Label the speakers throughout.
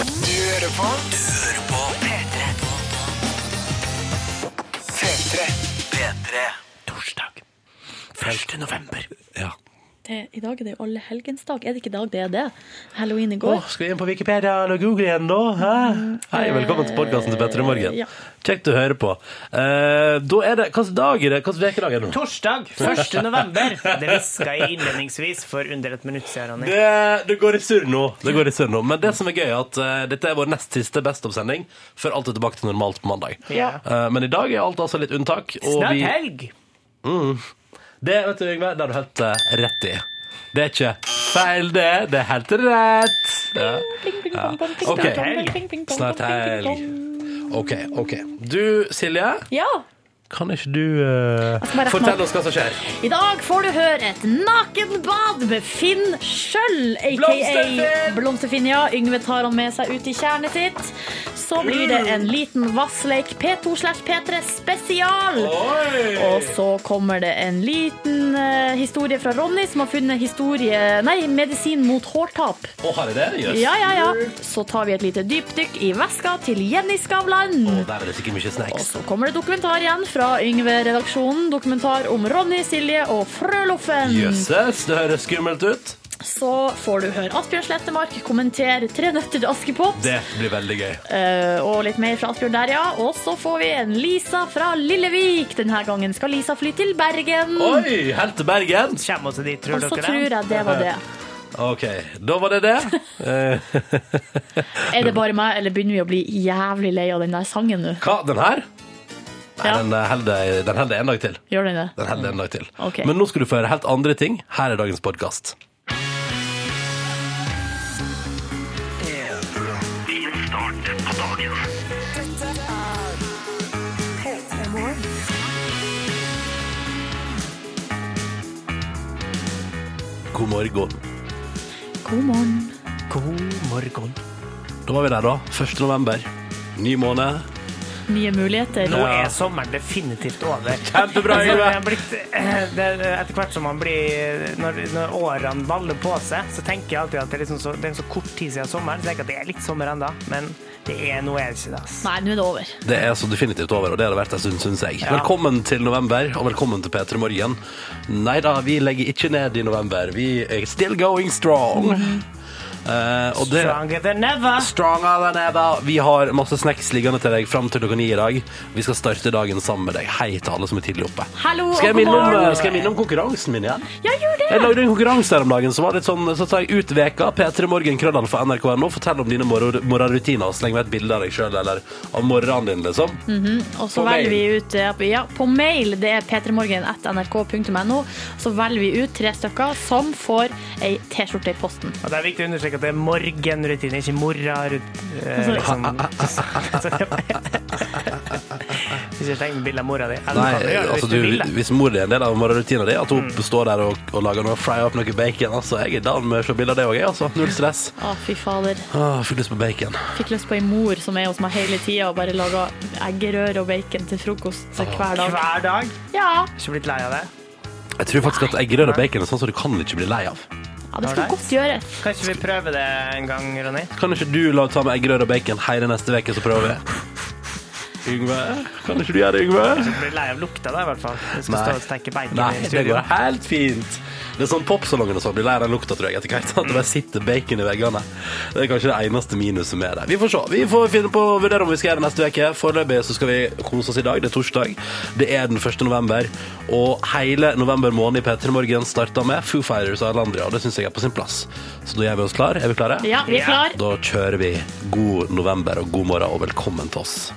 Speaker 1: hører på. Du hører på P3. P3. P3. Torsdag. 1. november.
Speaker 2: Ja.
Speaker 3: Det, I dag er det jo alle helgens dag. Er det ikke i dag det er det? Halloween i
Speaker 2: Å,
Speaker 3: går.
Speaker 2: skal vi inn på Wikipedia eller Google igjen da? Hæ? Hei, velkommen til podkasten til Petter i morgen.
Speaker 3: Ja.
Speaker 2: Kjekt å høre på. Eh, da er det, Hvilken dag er det? Hvilken ukedag er det nå?
Speaker 4: Torsdag 1. november. Det hviska jeg innledningsvis for under et minutt siden, Ronny.
Speaker 2: Det, det går i surr nå. Det går i surr nå. Men det som er gøy, er at eh, dette er vår nest siste Best of-sending før alt er tilbake til normalt på mandag.
Speaker 4: Ja.
Speaker 2: Eh, men i dag er alt altså litt unntak. og
Speaker 4: Snart
Speaker 2: vi-
Speaker 4: helg!
Speaker 2: Det vet du, Yngve, det har du helt eh, rett i. Det er ikke feil, det. Det er helt rett. Ja.
Speaker 3: Pling, pling, pong, pong, pling,
Speaker 2: Ok.
Speaker 3: pling, pong, pling, pling, pling, pong,
Speaker 2: Snart
Speaker 3: pling, pling,
Speaker 2: helg.
Speaker 3: pong.
Speaker 2: OK, OK. Du, Silje,
Speaker 3: Ja.
Speaker 2: kan ikke du eh,
Speaker 3: skal Altså, bare rette meg
Speaker 2: fortelle
Speaker 3: opp.
Speaker 2: oss hva som skjer?
Speaker 3: I dag får du høre et nakenbad med Finn sjøl, aka
Speaker 2: Blomsterfinn!
Speaker 3: Blomsterfinn. Ja. Yngve tar han med seg ut i tjernet sitt. Så blir det en
Speaker 2: Mm.
Speaker 3: liten vassleik P2 slash P3 spesial. Og så kommer det en liten eh, historie fra Ronny, som har funnet historie, nei, medisin mot hårtap.
Speaker 2: Å, har jeg det? Jøss.
Speaker 3: Ja, ja, ja. Så tar vi et lite dypdykk i veska til Jenny Skavlan.
Speaker 2: Å, Der er det sikkert mye
Speaker 3: Og
Speaker 2: snacks.
Speaker 3: så kommer det dokumentar igjen fra Yngve-redaksjonen. Dokumentar om Ronny, Silje og Frøloffen.
Speaker 2: Jøsses, det høres skummelt ut.
Speaker 3: Så får du høre Asbjørn Slettemark kommentere Tre nøtter til Askepott.
Speaker 2: Det blir veldig gøy.
Speaker 3: Eh, og litt mer fra Asbjørn der, ja. Og så får vi en Lisa fra Lillevik. Denne gangen skal Lisa fly til Bergen.
Speaker 2: Oi, helt til Bergen.
Speaker 4: Kjem oss til dit, tror
Speaker 3: Og så
Speaker 4: dere
Speaker 3: tror
Speaker 4: det?
Speaker 3: jeg det var det.
Speaker 2: OK, da var det det. Eh,
Speaker 3: Er det bare meg, eller begynner vi å bli jævlig lei av den der sangen nå?
Speaker 2: Hva, den her? Nei,
Speaker 3: Ja.
Speaker 2: den eh, holder den holder en dag til.
Speaker 3: Gjør den det?
Speaker 2: Den holder en dag til.
Speaker 3: Ok.
Speaker 2: Men nå skal du få høre helt andre ting. Her er dagens podkast. God morgen.
Speaker 3: God morgen.
Speaker 4: God morgen.
Speaker 2: Da var vi der, da. 1. november. Ny måned.
Speaker 3: Nye muligheter.
Speaker 4: Nå er sommeren definitivt over.
Speaker 2: Kjempebra,
Speaker 4: Altså,
Speaker 2: Yngve.
Speaker 4: det er blitt, eh, det er, etter hvert som man blir Når, når årene baller på seg, så tenker jeg alltid at det er, liksom så, det er så kort tid siden sommeren. Så tenker jeg at det er litt sommer ennå, men det er, nå er det ikke det. ass.
Speaker 3: Nei, nå er det over.
Speaker 2: Det er så definitivt over, og det har det vært en stund, syns jeg. Velkommen til november, og velkommen til P3 Morgen. Nei da, vi legger ikke ned i november. Vi er still going strong.
Speaker 3: Mhm.
Speaker 2: Eh, og det
Speaker 4: Stronger than ever.
Speaker 2: Stronger than ever. Vi har masse snacks liggende til deg fram til klokka ni i dag. Vi skal starte dagen sammen med deg. Hei til alle som er tidlig oppe.
Speaker 3: Hallo, og
Speaker 2: Skal jeg
Speaker 3: god
Speaker 2: minne om, eh,
Speaker 3: morgen.
Speaker 2: skal jeg minne om konkurransen min igjen?
Speaker 3: Ja, gjør det!
Speaker 2: Jeg lagde en konkurranse her om dagen som var litt sånn Så tar jeg ut veka, P3 Morgen, krøllene for NRK.no. Fortell om dine morgen- morgenrutiner, og sleng med et bilde av deg sjøl eller av morgenen din, liksom.
Speaker 3: Og så velger
Speaker 2: På mail.
Speaker 3: vi ut eh, ja, På mail, det er p3morgen.nrk.no. Så velger vi ut tre stykker som får ei T-skjorte i posten.
Speaker 4: Og det er viktig å understreke at det er morgenrutine, ikke morgenrutine. Eh, liksom. ikke sleng bilde av mora di. Eller
Speaker 2: Nei,
Speaker 4: kan gjøre det
Speaker 2: altså
Speaker 4: hvis du vil
Speaker 2: du,
Speaker 4: det.
Speaker 2: hvis mor di er en del av morgenrutina di, at hun står der og, og lager noe, fry opp noe bacon, altså, jeg er down med å se bilder av det òg, jeg, altså. Null stress.
Speaker 3: Å, fy fader.
Speaker 2: Ah, Fyll lyst på bacon.
Speaker 3: Fikk lyst på ei mor som er hos meg hele tida og bare lager eggerøre og bacon til frokost hver dag.
Speaker 4: Hver dag.
Speaker 3: Ja,
Speaker 4: Ikke blitt lei av det.
Speaker 2: Jeg tror faktisk at eggerøre og bacon er sånn som du kan ikke bli lei av.
Speaker 3: ja det skal
Speaker 4: Alright.
Speaker 3: godt gjøres.
Speaker 4: Kanskje vi prøver det en gang, Ronny?
Speaker 2: Kan ikke du la ta med eggerøre og bacon hele neste uke, så prøver vi? Yngve? Kan ikke du gjøre det, Yngve?
Speaker 4: Blir lei av lukta da, i hvert fall. Vi skal
Speaker 2: Nei.
Speaker 4: stå og steke bacon
Speaker 2: Nei,
Speaker 4: i
Speaker 2: det
Speaker 4: studio.
Speaker 2: går helt fint. Det er sånn popsalongen og sånn blir lei av den lukta, tror jeg, etter hvert. At det bare sitter bacon i veggene. Det er kanskje det eneste minuset med det. Vi får se. Vi får finne på å vurdere om vi skal gjøre det neste uke. Foreløpig så skal vi kose oss i dag. Det er torsdag. Det er den 1. november. Og hele november måned i P3 Morgen starta med Foo Fighters og Alandria, og det syns jeg er på sin plass. Så da gjør vi oss klar. Er vi klare?
Speaker 3: Ja, vi er
Speaker 4: Ja.
Speaker 3: klar.
Speaker 2: Da kjører vi god november og god morgen og velkommen til oss.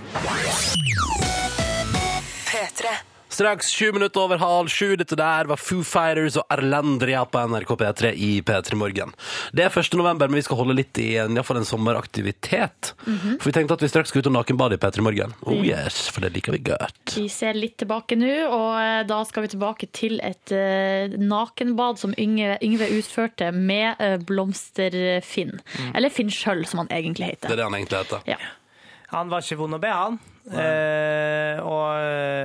Speaker 1: P3.
Speaker 2: Straks sju minutter over halv sju. Dette der var Foo Fighters og Erlendria på NRK P3 i P3 Morgen. Det er 1. november, men vi skal holde litt i en, i hvert fall en sommeraktivitet. For vi tenkte at vi straks skal ut og nakenbade i P3 Morgen. Oh yes, for det liker vi godt.
Speaker 3: Vi ser litt tilbake nå, og eh, da skal vi tilbake til et eh, nakenbad som Yngve, Yngve utførte med eh, Blomsterfinn. Eller Finn sjøl, som han egentlig
Speaker 2: Mm. Det er
Speaker 3: heter.
Speaker 2: det han egentlig heter.
Speaker 3: Ja.
Speaker 4: Han var ikke vond å be, han. Eh, og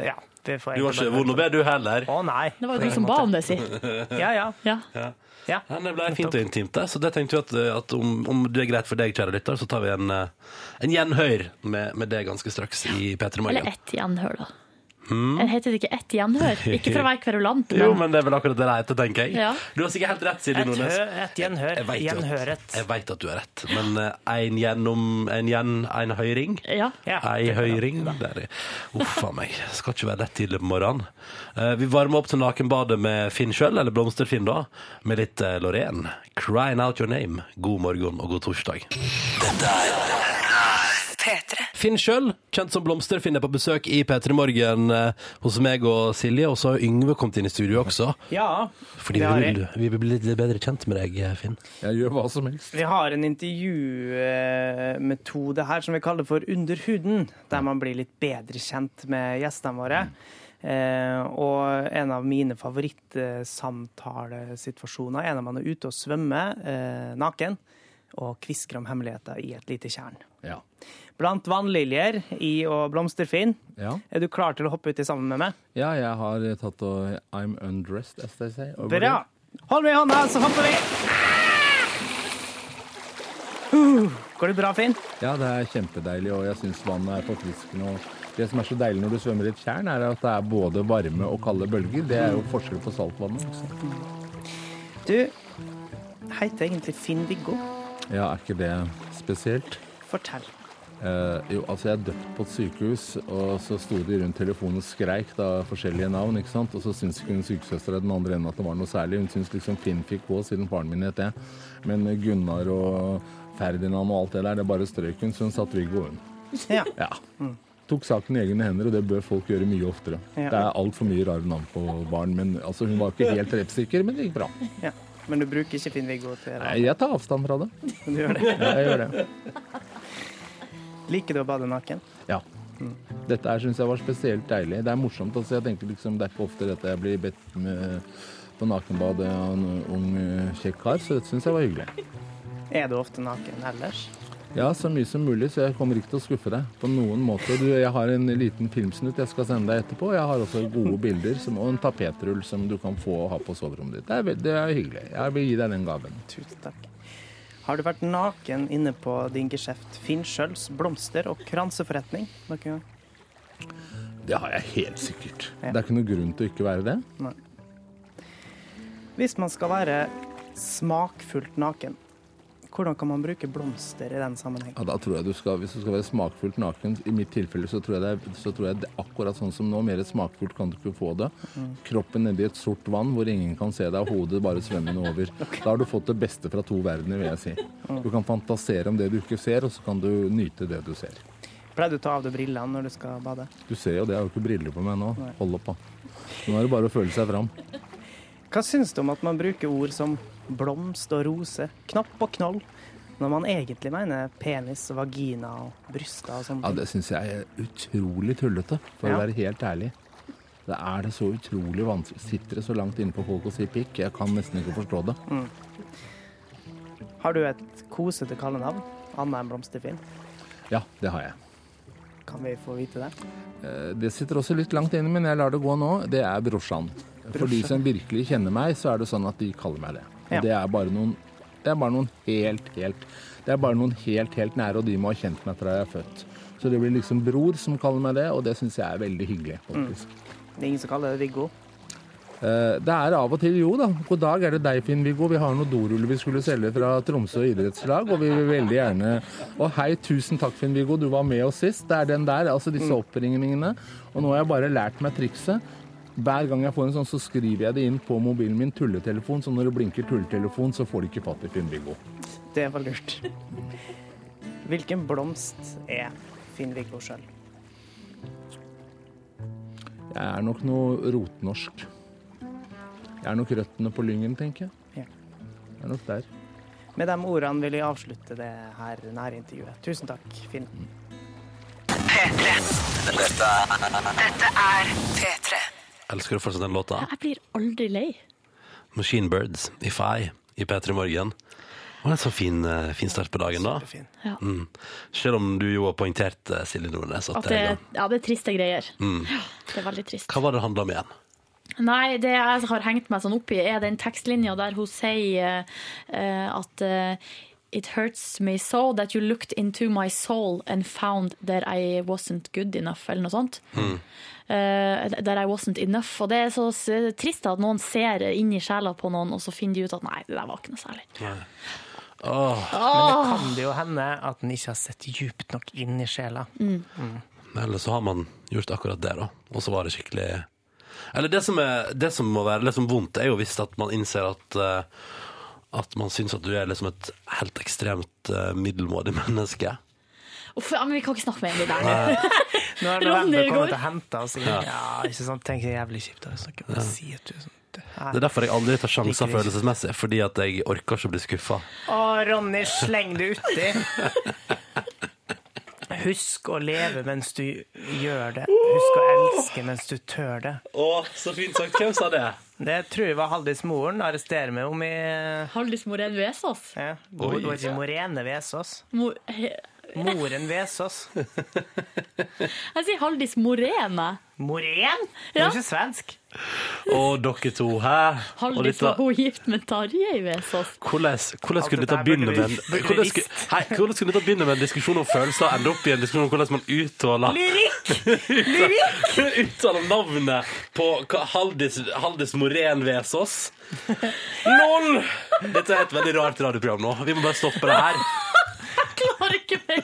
Speaker 4: ja, det får jeg
Speaker 2: Du var
Speaker 4: egentlig
Speaker 2: ikke
Speaker 4: bare-
Speaker 2: vond å be, du heller.
Speaker 4: Å nei.
Speaker 3: Det var jo du som ba om det, si.
Speaker 4: Ja, ja.
Speaker 3: Ja.
Speaker 4: Ja.
Speaker 2: Ja, det ble fint og intimt der, så det tenkte vi at, eh, at om, om det er greit for deg, kjære lytter, så tar vi en, eh, en gjenhør med, med det ganske straks i P3
Speaker 3: Eller
Speaker 2: Morgen.
Speaker 3: ett gjenhør, da. Eller Heter det ikke ett gjenhør? Ikke for å være kverulant,
Speaker 2: Hmm? Jo,
Speaker 3: men
Speaker 2: men det er vel akkurat det det heter, tenker jeg.
Speaker 3: Ja.
Speaker 2: Du har sikkert helt rett,
Speaker 4: Et,
Speaker 2: Silje
Speaker 4: hø,
Speaker 2: Nordnes.
Speaker 4: et gjenhør.
Speaker 2: Jeg vet jo at-
Speaker 4: Gjenhøret.
Speaker 2: Jeg vet at du har rett, men eh, en gjennom En gjen, en høyring?
Speaker 3: ja.
Speaker 4: Ja.
Speaker 2: Ei høyring der. Uff a meg. Skal ikke være lett tidlig på morgenen. Eh, Vi varmer opp til nakenbadet med Finn sjøl, eller Blomster-Finn, da. Med litt eh, Loreen. 'Crying Out Your Name'. God morgen og god torsdag.
Speaker 1: P3.
Speaker 2: Finn sjøl, kjent som Blomster-Finn, er på besøk i P3 Morgen eh, hos meg og Silje. Og så har Yngve kommet inn i studio også.
Speaker 5: Ja,
Speaker 2: Fordi
Speaker 4: Det
Speaker 2: vi
Speaker 4: har
Speaker 2: vil, vi vil bli litt bedre kjent med deg, eh, Finn.
Speaker 5: jeg gjør hva som helst.
Speaker 4: Vi har en intervjumetode her som vi kaller for Under huden, der man blir litt bedre kjent med gjestene våre. Eh, og en av mine favorittsamtalesituasjoner er når man er ute og svømmer eh, naken og kvisker om hemmeligheter i et lite tjern.
Speaker 5: Ja.
Speaker 4: Blant vannliljer i og blomsterfinn,
Speaker 5: ja.
Speaker 4: er du klar til å hoppe uti sammen med meg?
Speaker 5: Ja, jeg har eh, tatt og I'm undressed, as they say. over
Speaker 4: Bra! Hold meg i hånda, så hopper vi! Uh, går det bra, Finn?
Speaker 5: det. Ja, det er kjempedeilig, og jeg syns vannet er forfriskende. Og det som er så deilig når du svømmer i et tjern, er at det er både varme og kalde bølger. Det er jo forskjell på saltvannet. altså. Også.
Speaker 4: Du heter egentlig Finn-Viggo.
Speaker 5: Ja, er ikke det spesielt?
Speaker 4: Fortell.
Speaker 5: Eh, jo, altså jeg er døpt på et sykehus, og så sto de rundt telefonen og skreik da forskjellige navn, ikke sant? Og så syntes ikke hun sykesøstera i den andre enden at det var noe særlig. Hun syntes liksom Finn fikk gå, siden faren min het det. Men eh, Gunnar og Ferdinand og alt det der, det bare strøk hun, så hun satt Viggo, hun.
Speaker 4: Ja.
Speaker 5: Ja. Tok saken i egne hender, og det bør folk gjøre mye oftere.
Speaker 4: Ja.
Speaker 5: Det er altfor mye rare navn på barn, men altså, hun var ikke helt treffsikker, men det gikk bra.
Speaker 4: ja. Men du bruker ikke Finn-Viggo til
Speaker 5: Nei, Jeg tar avstand fra det.
Speaker 4: Du gjør det.
Speaker 5: Ja, jeg gjør det.
Speaker 4: Liker du å bade naken?
Speaker 5: Ja. Dette her syns jeg var spesielt deilig. Det er morsomt. Altså, jeg tenker liksom, Det er ikke ofte dette jeg blir bedt med på nakenbad av en ung, eh, kjekk kar, så dette syns jeg var hyggelig.
Speaker 4: Er du ofte naken ellers?
Speaker 5: Ja, så mye som mulig, så jeg kommer ikke til å skuffe deg på noen måte. Du, jeg har en liten filmsnutt jeg skal sende deg etterpå. Jeg har også gode bilder som, og en tapetrull som du kan få og ha på soverommet ditt. Det er, ve- det er hyggelig. Jeg vil gi deg den gaven.
Speaker 4: Tusen takk. Har du vært naken inne på din geskjeft Finn Schjølls blomster- og kranseforretning noen gang?
Speaker 5: Det har jeg helt sikkert.
Speaker 4: Ja.
Speaker 5: Det er ikke noen grunn til å ikke være det.
Speaker 4: Hvis man skal være smakfullt naken, hvordan kan man bruke blomster i den sammenheng?
Speaker 5: Ja, da tror jeg du skal, Hvis du skal være smakfullt naken, i mitt tilfelle, så tror jeg det, er- så tror jeg det er akkurat sånn som nå. Mer smakfullt kan du ikke få det. Kroppen nedi et sort vann hvor ingen kan se deg, og hodet bare svømmende over. Da har du fått det beste fra to verdener, vil jeg si. Du kan fantasere om det du ikke ser, og så kan du nyte det du ser.
Speaker 4: Pleier du å ta av deg brillene når du skal bade?
Speaker 5: Du ser jo det, jeg har jo ikke briller på meg nå. Hold opp, da. Nå er det bare å føle seg fram.
Speaker 4: Hva syns du om at man bruker ord som blomst og rose, knapp og knoll, når man egentlig mener penis og vagina og bryster og sånne
Speaker 5: Ja,
Speaker 4: ting?
Speaker 5: det syns jeg er utrolig tullete, for å
Speaker 4: Ja.
Speaker 5: være helt ærlig. Det er det så utrolig vanskelig. Sitter det så langt inne på folk og sier pikk? Jeg kan nesten ikke forstå det.
Speaker 4: Har du et kosete kallenavn, annet enn Blomsterfinn?
Speaker 5: Ja, det har jeg.
Speaker 4: Kan vi få vite det?
Speaker 5: Eh, Det sitter også litt langt inne, men jeg lar det gå nå. Det er brorsan. For de som virkelig kjenner meg, så er det sånn at de kaller meg det. Og
Speaker 4: Ja.
Speaker 5: det er bare noen det er bare noen helt, helt Det er bare noen helt, helt nære, og de må ha kjent meg fra jeg er født. Så det blir liksom bror som kaller meg det, og det syns jeg er veldig hyggelig. faktisk.
Speaker 4: Det er ingen som kaller det Viggo.
Speaker 5: Eh, Det er av og til jo, da. God dag, er det deg, Finn-Viggo? Vi har noen doruller vi skulle selge fra Tromsø idrettslag, og vi vil veldig gjerne Og hei, tusen takk, Finn-Viggo, du var med oss sist. Det er den der, altså disse oppringningene. Og nå har jeg bare lært meg trikset. Hver gang jeg får en sånn, så skriver jeg det inn på mobilen min, tulletelefon, så når det blinker tulletelefon, så får de ikke fatt i Finn-Viggo.
Speaker 4: Det var lurt. Hvilken blomst er Finn-Viggo sjøl?
Speaker 5: Jeg er nok noe rotnorsk. Jeg er nok røttene på lyngen, tenker jeg.
Speaker 4: Ja.
Speaker 5: Jeg er nok der.
Speaker 4: Med de ordene vil jeg avslutte det her nære intervjuet. Tusen takk, Finn.
Speaker 1: P3.
Speaker 2: Elsker du fortsatt den låta?
Speaker 3: Jeg blir aldri lei.
Speaker 2: Machine Birds, If I, i P3 Morgen. Det var en sånn fin, eh, fin start på dagen, da.
Speaker 4: Finn.
Speaker 3: Ja.
Speaker 2: Mm. Selv om du jo har poengtert, eh, Silje Nordnes, at
Speaker 3: At det,
Speaker 2: det er Hmm.
Speaker 3: ja, det er triste greier. Ja, det er veldig trist.
Speaker 2: Hva var det det handla om igjen?
Speaker 3: Nei, det jeg har hengt meg sånn opp i, er den tekstlinja der hun sier eh, at eh, It hurts me so that you looked into my soul and found that I wasn't good enough, eller noe sånt. Eh, that I wasn't enough. Og det er så s- trist at noen ser inn i sjela på noen, og så finner de ut at nei, det der var ikke noe særlig.
Speaker 4: Men det kan det jo hende at en ikke har sett djupt nok inn i sjela.
Speaker 2: Men Eller så har man gjort akkurat det, da. Og så var det skikkelig Eller det som, er, det som må være liksom vondt, er jo hvis at man innser at eh, at man syns at du er liksom et helt ekstremt eh, middelmådig menneske.
Speaker 3: Uff, ja, men vi kan ikke snakke mer om det der.
Speaker 4: Nå er
Speaker 3: Ronny
Speaker 4: november
Speaker 3: går.
Speaker 4: kommet og henta oss inn. altså. Ja, ikke sant? Tenk det er jævlig kjipt. da. Så kan man si at du er sånn
Speaker 2: Det
Speaker 4: død.
Speaker 2: er derfor jeg aldri tar sjanser
Speaker 4: Liker det ikke.
Speaker 2: følelsesmessig, fordi at jeg orker ikke å bli skuffa.
Speaker 4: Å, Ronny, sleng det uti! Husk å leve mens du gjør det. Husk å elske mens du tør det.
Speaker 2: Å, så fint sagt. Hvem sa det?
Speaker 4: Det tror jeg var Haldis moren arresterer meg om i
Speaker 3: Haldis Morén Vesaas.
Speaker 4: ja.
Speaker 2: Oi.
Speaker 4: Mor, ikke Morene Vesaas.
Speaker 3: Mo- he-
Speaker 4: Moren Vesaas.
Speaker 3: Jeg sier Haldis Morén, jeg.
Speaker 4: Morén? Det
Speaker 3: Ja.
Speaker 4: er jo ikke svensk.
Speaker 2: Å, dere to, hæ? Og
Speaker 3: Haldis
Speaker 2: dette-
Speaker 3: var hun gift med Tarjei Vesaas.
Speaker 2: Hvordan, hvordan skulle
Speaker 4: dette
Speaker 2: dette
Speaker 4: her
Speaker 2: begynne
Speaker 4: burde
Speaker 2: med
Speaker 4: vi-
Speaker 2: en,
Speaker 4: burde vi
Speaker 2: hvordan skulle, hei, hvordan skulle dette begynne med en diskusjon om følelser og ende opp i en diskusjon om hvordan man uttaler
Speaker 4: Lyrikk!
Speaker 2: Uttaler navnet på hva- Haldis, Haldis Morén Vesaas. LOL! Dette er et veldig rart radioprogram nå. Vi må bare stoppe det her.
Speaker 3: Klarer ikke mer.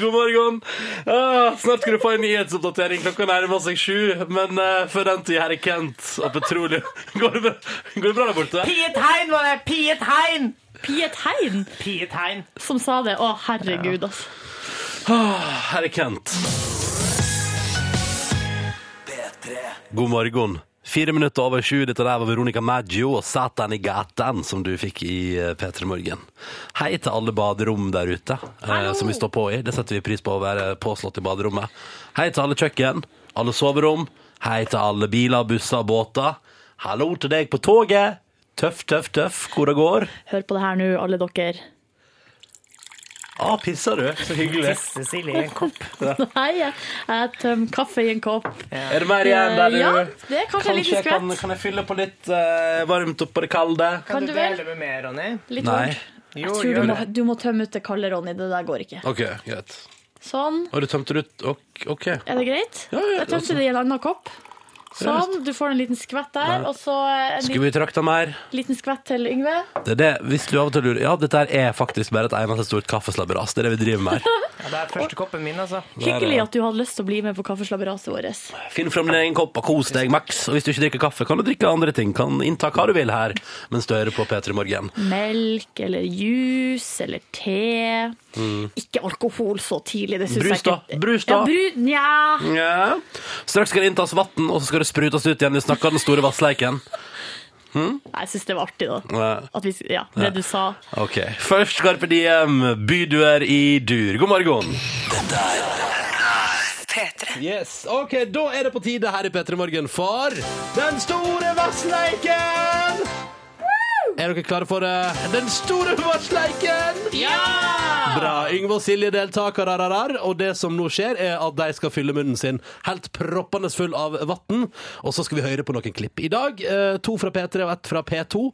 Speaker 2: God morgen. Ah, snart skal du få en nyhetsoppdatering. Klokka nærmer seg sju. Men eh, før den tid, herre Kent og petroleum Går det bra, går det bra der borte?
Speaker 4: Piet Hein var det! Piet Hein!
Speaker 3: Piet Hein
Speaker 4: Piet Hein.
Speaker 3: som sa det. Å, herregud, altså.
Speaker 2: Herre Kent. God morgen. Fire minutter over sju. Dette der var Veronica Maggio og Satan i gatan, som du fikk i eh, P3 Morgen. Hei til alle baderom der ute eh,
Speaker 3: Hallo.
Speaker 2: som vi står på i. Det setter vi pris på å være påslått i baderommet. Hei til alle kjøkken, alle soverom. Hei til alle biler, busser og båter. Hallo til deg på toget. Tøff, tøff, tøff hvor det går.
Speaker 3: Hør på det her nå, alle dere.
Speaker 2: Å, pisser du? Så hyggelig.
Speaker 4: Tisse Silje i en kopp.
Speaker 3: Nei, jeg- jeg tømmer kaffe i en kopp.
Speaker 2: Er det mer igjen der du
Speaker 3: Eh, ja, det er kanskje en liten
Speaker 2: jeg kan,
Speaker 3: skvett.
Speaker 2: kan jeg fylle på litt eh, varmt oppå det kalde?
Speaker 3: Kan
Speaker 4: Kan du
Speaker 3: du vel?
Speaker 4: dele med meg, Ronny?
Speaker 3: Litt
Speaker 2: Nei.
Speaker 3: varmt. Jeg tror du må, du må tømme ut det kalde, Ronny. Det der går ikke.
Speaker 2: OK, greit.
Speaker 3: Sånn.
Speaker 2: Og du tømte det ut? Ok, OK.
Speaker 3: Er det greit?
Speaker 2: Ja, ja,
Speaker 3: Jeg tømte det i en annen kopp. Sånn. Du får en liten skvett der, og så en liten,
Speaker 2: Skulle vi trakta mer?
Speaker 3: liten skvett til Yngve.
Speaker 2: Det er det, hvis du av og til lurer Ja, dette her er faktisk bare et eneste stort kaffeslabberas. Det er det vi driver med her.
Speaker 4: Ja, det er første koppen min, altså.
Speaker 3: Hyggelig at du hadde lyst til å bli med på kaffeslabberaset vårt.
Speaker 2: Finn fram din egen kopp og kos deg maks. Og hvis du ikke drikker kaffe, kan du drikke andre ting. Kan innta hva du vil her mens du hører på P3 Morgen.
Speaker 3: melk eller juice eller te. Ikke alkohol så tidlig, det syns jeg
Speaker 2: Mm. Brus
Speaker 3: ikke.
Speaker 2: da, brus da.
Speaker 3: Ja, bru, nja.
Speaker 2: Ja. Straks skal det inntas vann, og så skal det sprutes ut igjen. Vi snakker den store vassleiken.
Speaker 3: Nei, jeg syns det var artig, da.
Speaker 2: Ja.
Speaker 3: At vi, ja, det du sa.
Speaker 2: Ok, først Carpe Diem, byduer i dur. God morgen.
Speaker 1: P3.
Speaker 2: Yes, ok, da er det på tide her i P3 Morgen for Den store vassleiken! Er dere klare for det? Den store vassleiken! Ja! Bra. Yngve og Silje deltakere her, og det som nå skjer, er at de skal fylle munnen sin helt proppende full av vann. Og så skal vi høre på noen klipp. I dag eh, to fra P3 og ett fra P2,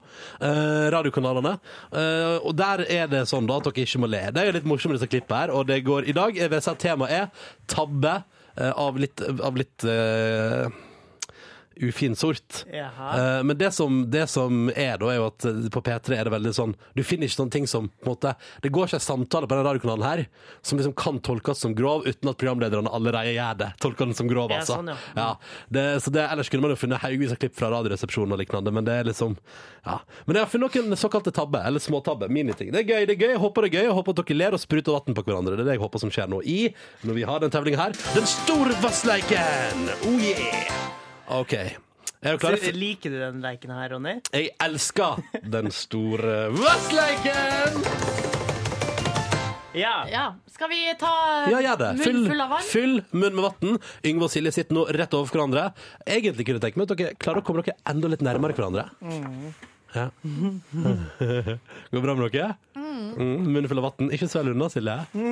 Speaker 2: eh, radiokanalene. Eh, Og der er det sånn da at dere ikke må le. Det er litt morsomt med disse klippene her, og det går i dag. eh, Jeg vil si at temaet er tabbe eh, av litt, av litt eh, ufin sort.
Speaker 4: Jaha.
Speaker 2: Eh, men det som, det som er, da, er jo at eh, på P3 er det veldig sånn Du finner ikke sånne ting som på en måte, Det går ikke en samtale på denne radiokanalen her som liksom kan tolkes som grov, uten at programlederne allerede gjør det. Tolker den som grov,
Speaker 4: Ja,
Speaker 2: altså.
Speaker 4: sånn, ja.
Speaker 2: det, så det, ellers kunne man jo funnet haugevis av klipp fra Radioresepsjonen og lignende, men det er liksom Ja. Men jeg har funnet noen såkalte tabber, eller småtabber, miniting. Det er gøy, det er gøy. Jeg håper det er gøy. Jeg håper at dere ler og spruter vann på hverandre. Det er det jeg håper som skjer nå i når vi har den tevlinga her. Den store vassleiken! Oh yeah! OK. Er dere klare?
Speaker 4: Så, Liker du den leken her, Ronny?
Speaker 2: Jeg elsker den store vassleiken!
Speaker 4: Ja.
Speaker 3: Ja. Skal vi ta
Speaker 2: Ja, gjør det.
Speaker 3: munn
Speaker 2: Fyll,
Speaker 3: full av vann?
Speaker 2: fyll munn med vann. Yngve og Silje sitter nå rett over hverandre. Egentlig kunne jeg tenke meg at dere klarer å komme dere enda litt nærmere hverandre. Ja. Går det bra med dere? Mm, munnen full av vann. Ikke svelg unna, Silje.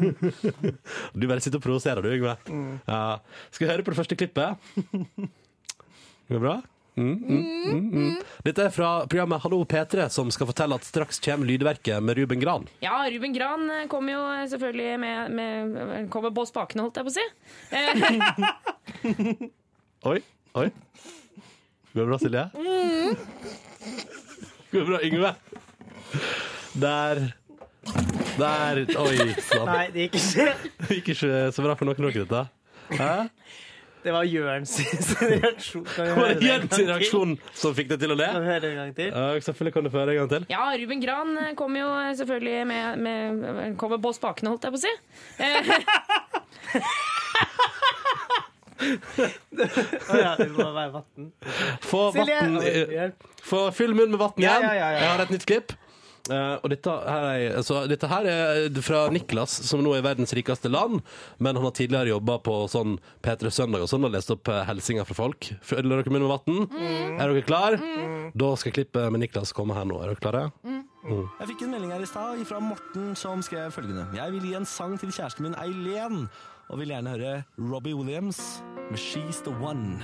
Speaker 2: du bare sitter og provoserer, du, Yngve.
Speaker 3: Mm.
Speaker 2: Ja. Skal vi høre på det første klippet? Går det bra? Mm, mm, mm, mm. Dette er fra programmet Hallo P3, som skal fortelle at straks kommer lydverket med Ruben Gran.
Speaker 6: Ja, Ruben Gran eh, kom jo eh, selvfølgelig med, med Kommer på spakene, holdt jeg på å si. Eh,
Speaker 2: Eh. Oi, oi. Går det bra, Silje?
Speaker 6: Mm.
Speaker 2: Går det bra, Yngve? Der. Der. Oi, sann.
Speaker 4: Nei, det gikk ikke.
Speaker 2: Det gikk ikke så bra for noen av dere, dette. Hæ?
Speaker 4: Det var Jørn sin sin reaksjon. Kan vi
Speaker 2: Det var
Speaker 4: høre det en
Speaker 2: igjen
Speaker 4: gang
Speaker 2: sin
Speaker 4: til?
Speaker 2: reaksjon som fikk deg til å le.
Speaker 4: Kan vi høre det en gang til?
Speaker 2: Ja, selvfølgelig kan du få høre en gang til.
Speaker 6: ja, Ruben Gran eh, kom jo eh, selvfølgelig med, med Kommer på spakene, holdt jeg på å si. Eh,
Speaker 4: Å ja, det må være vann.
Speaker 2: Få vatten i- Få fyll munnen med vann igjen.
Speaker 4: Ja, ja, ja, ja.
Speaker 2: Jeg har et nytt klipp. Eh, og dette her, er, altså, dette her er fra Niklas, som nå er verdens rikeste land. Men han har tidligere jobba på sånn P3 Søndag og sånn og lest opp eh, hilsener fra folk. Følger dere munnen med vann?
Speaker 4: Mm.
Speaker 2: Er dere klar? Da skal klippet med Niklas komme her nå. Er dere klare?
Speaker 4: Mm.
Speaker 2: Mm.
Speaker 7: Jeg fikk en melding her i stad fra Morten som skrev følgende. Jeg vil gi en sang til kjæresten min Eileen, og vil gjerne høre Robbie Williams med She's The One.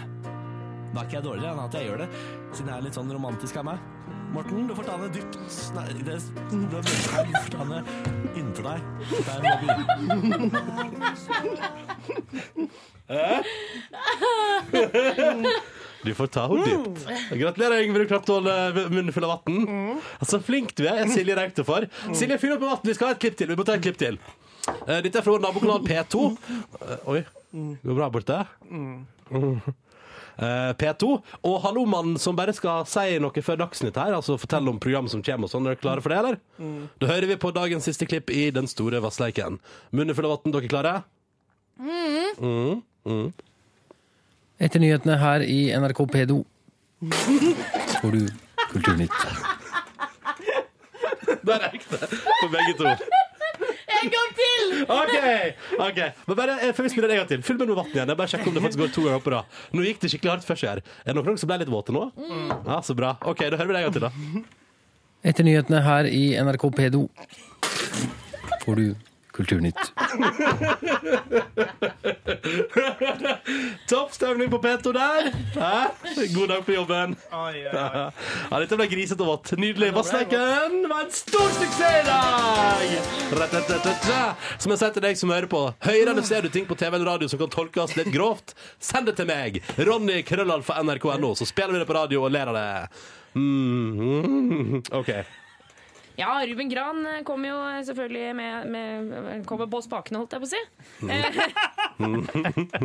Speaker 7: Da er ikke jeg dårligere enn at jeg gjør det, siden jeg er litt sånn romantisk av meg. Morten, du får ta det dypt Nei, det, det, du får ta det inntil deg. Det er Robbie.
Speaker 2: Du får ta henne dypt. Gratulerer, Ingvild Kraftål, munnen full av vann. Så flink du er, er Silje Raute for. Silje, fyll opp med vann. Vi skal ha et klipp til. Vi må ta et klipp til. Eh, Dette er fra vår nabokanal P2. Eh, Oi. Går det bra borte? Mm. Eh, P2 og Hallomannen som bare skal si noe før Dagsnytt her, altså fortelle om program som kommer og sånn. Er dere klare for det, eller? Da hører vi på dagens siste klipp i Den store vassleiken. Munnen full av vann, dere klare?
Speaker 8: Etter nyhetene her i NRK P2 får du Kulturnytt.
Speaker 2: Der er det for begge to.
Speaker 3: En gang til!
Speaker 2: OK! ok Men bare eh, før vi spiller en gang til, fyll med noe vann igjen. Jeg bare sjekker om det faktisk går to ganger på rad. Nå gikk det skikkelig hardt først her. Er det noen som ble litt våte nå? Ja, Så bra. OK, da hører vi det en gang til, da.
Speaker 8: Etter nyhetene her i NRK P2 får du Kulturnytt.
Speaker 2: Topp stemning på P2 der. Hæ? God dag på jobben.
Speaker 4: Oi, oi, oi.
Speaker 2: Ja, dette ble grisete og vått. Nydelig. Vassleiken var en stor suksess i dag! Ra-ta-ta-ta-ta. Som jeg sier til deg som hører på, høyere eller ser du ting på TV eller radio som kan tolkes litt grovt, send det til meg. Ronny Krøllalfa nrk.no, så spiller vi det på radio og ler av det. Mm, OK.
Speaker 6: ja, Ruben Gran eh, kom jo eh, selvfølgelig med, med Kommer på spakene, holdt jeg på å si.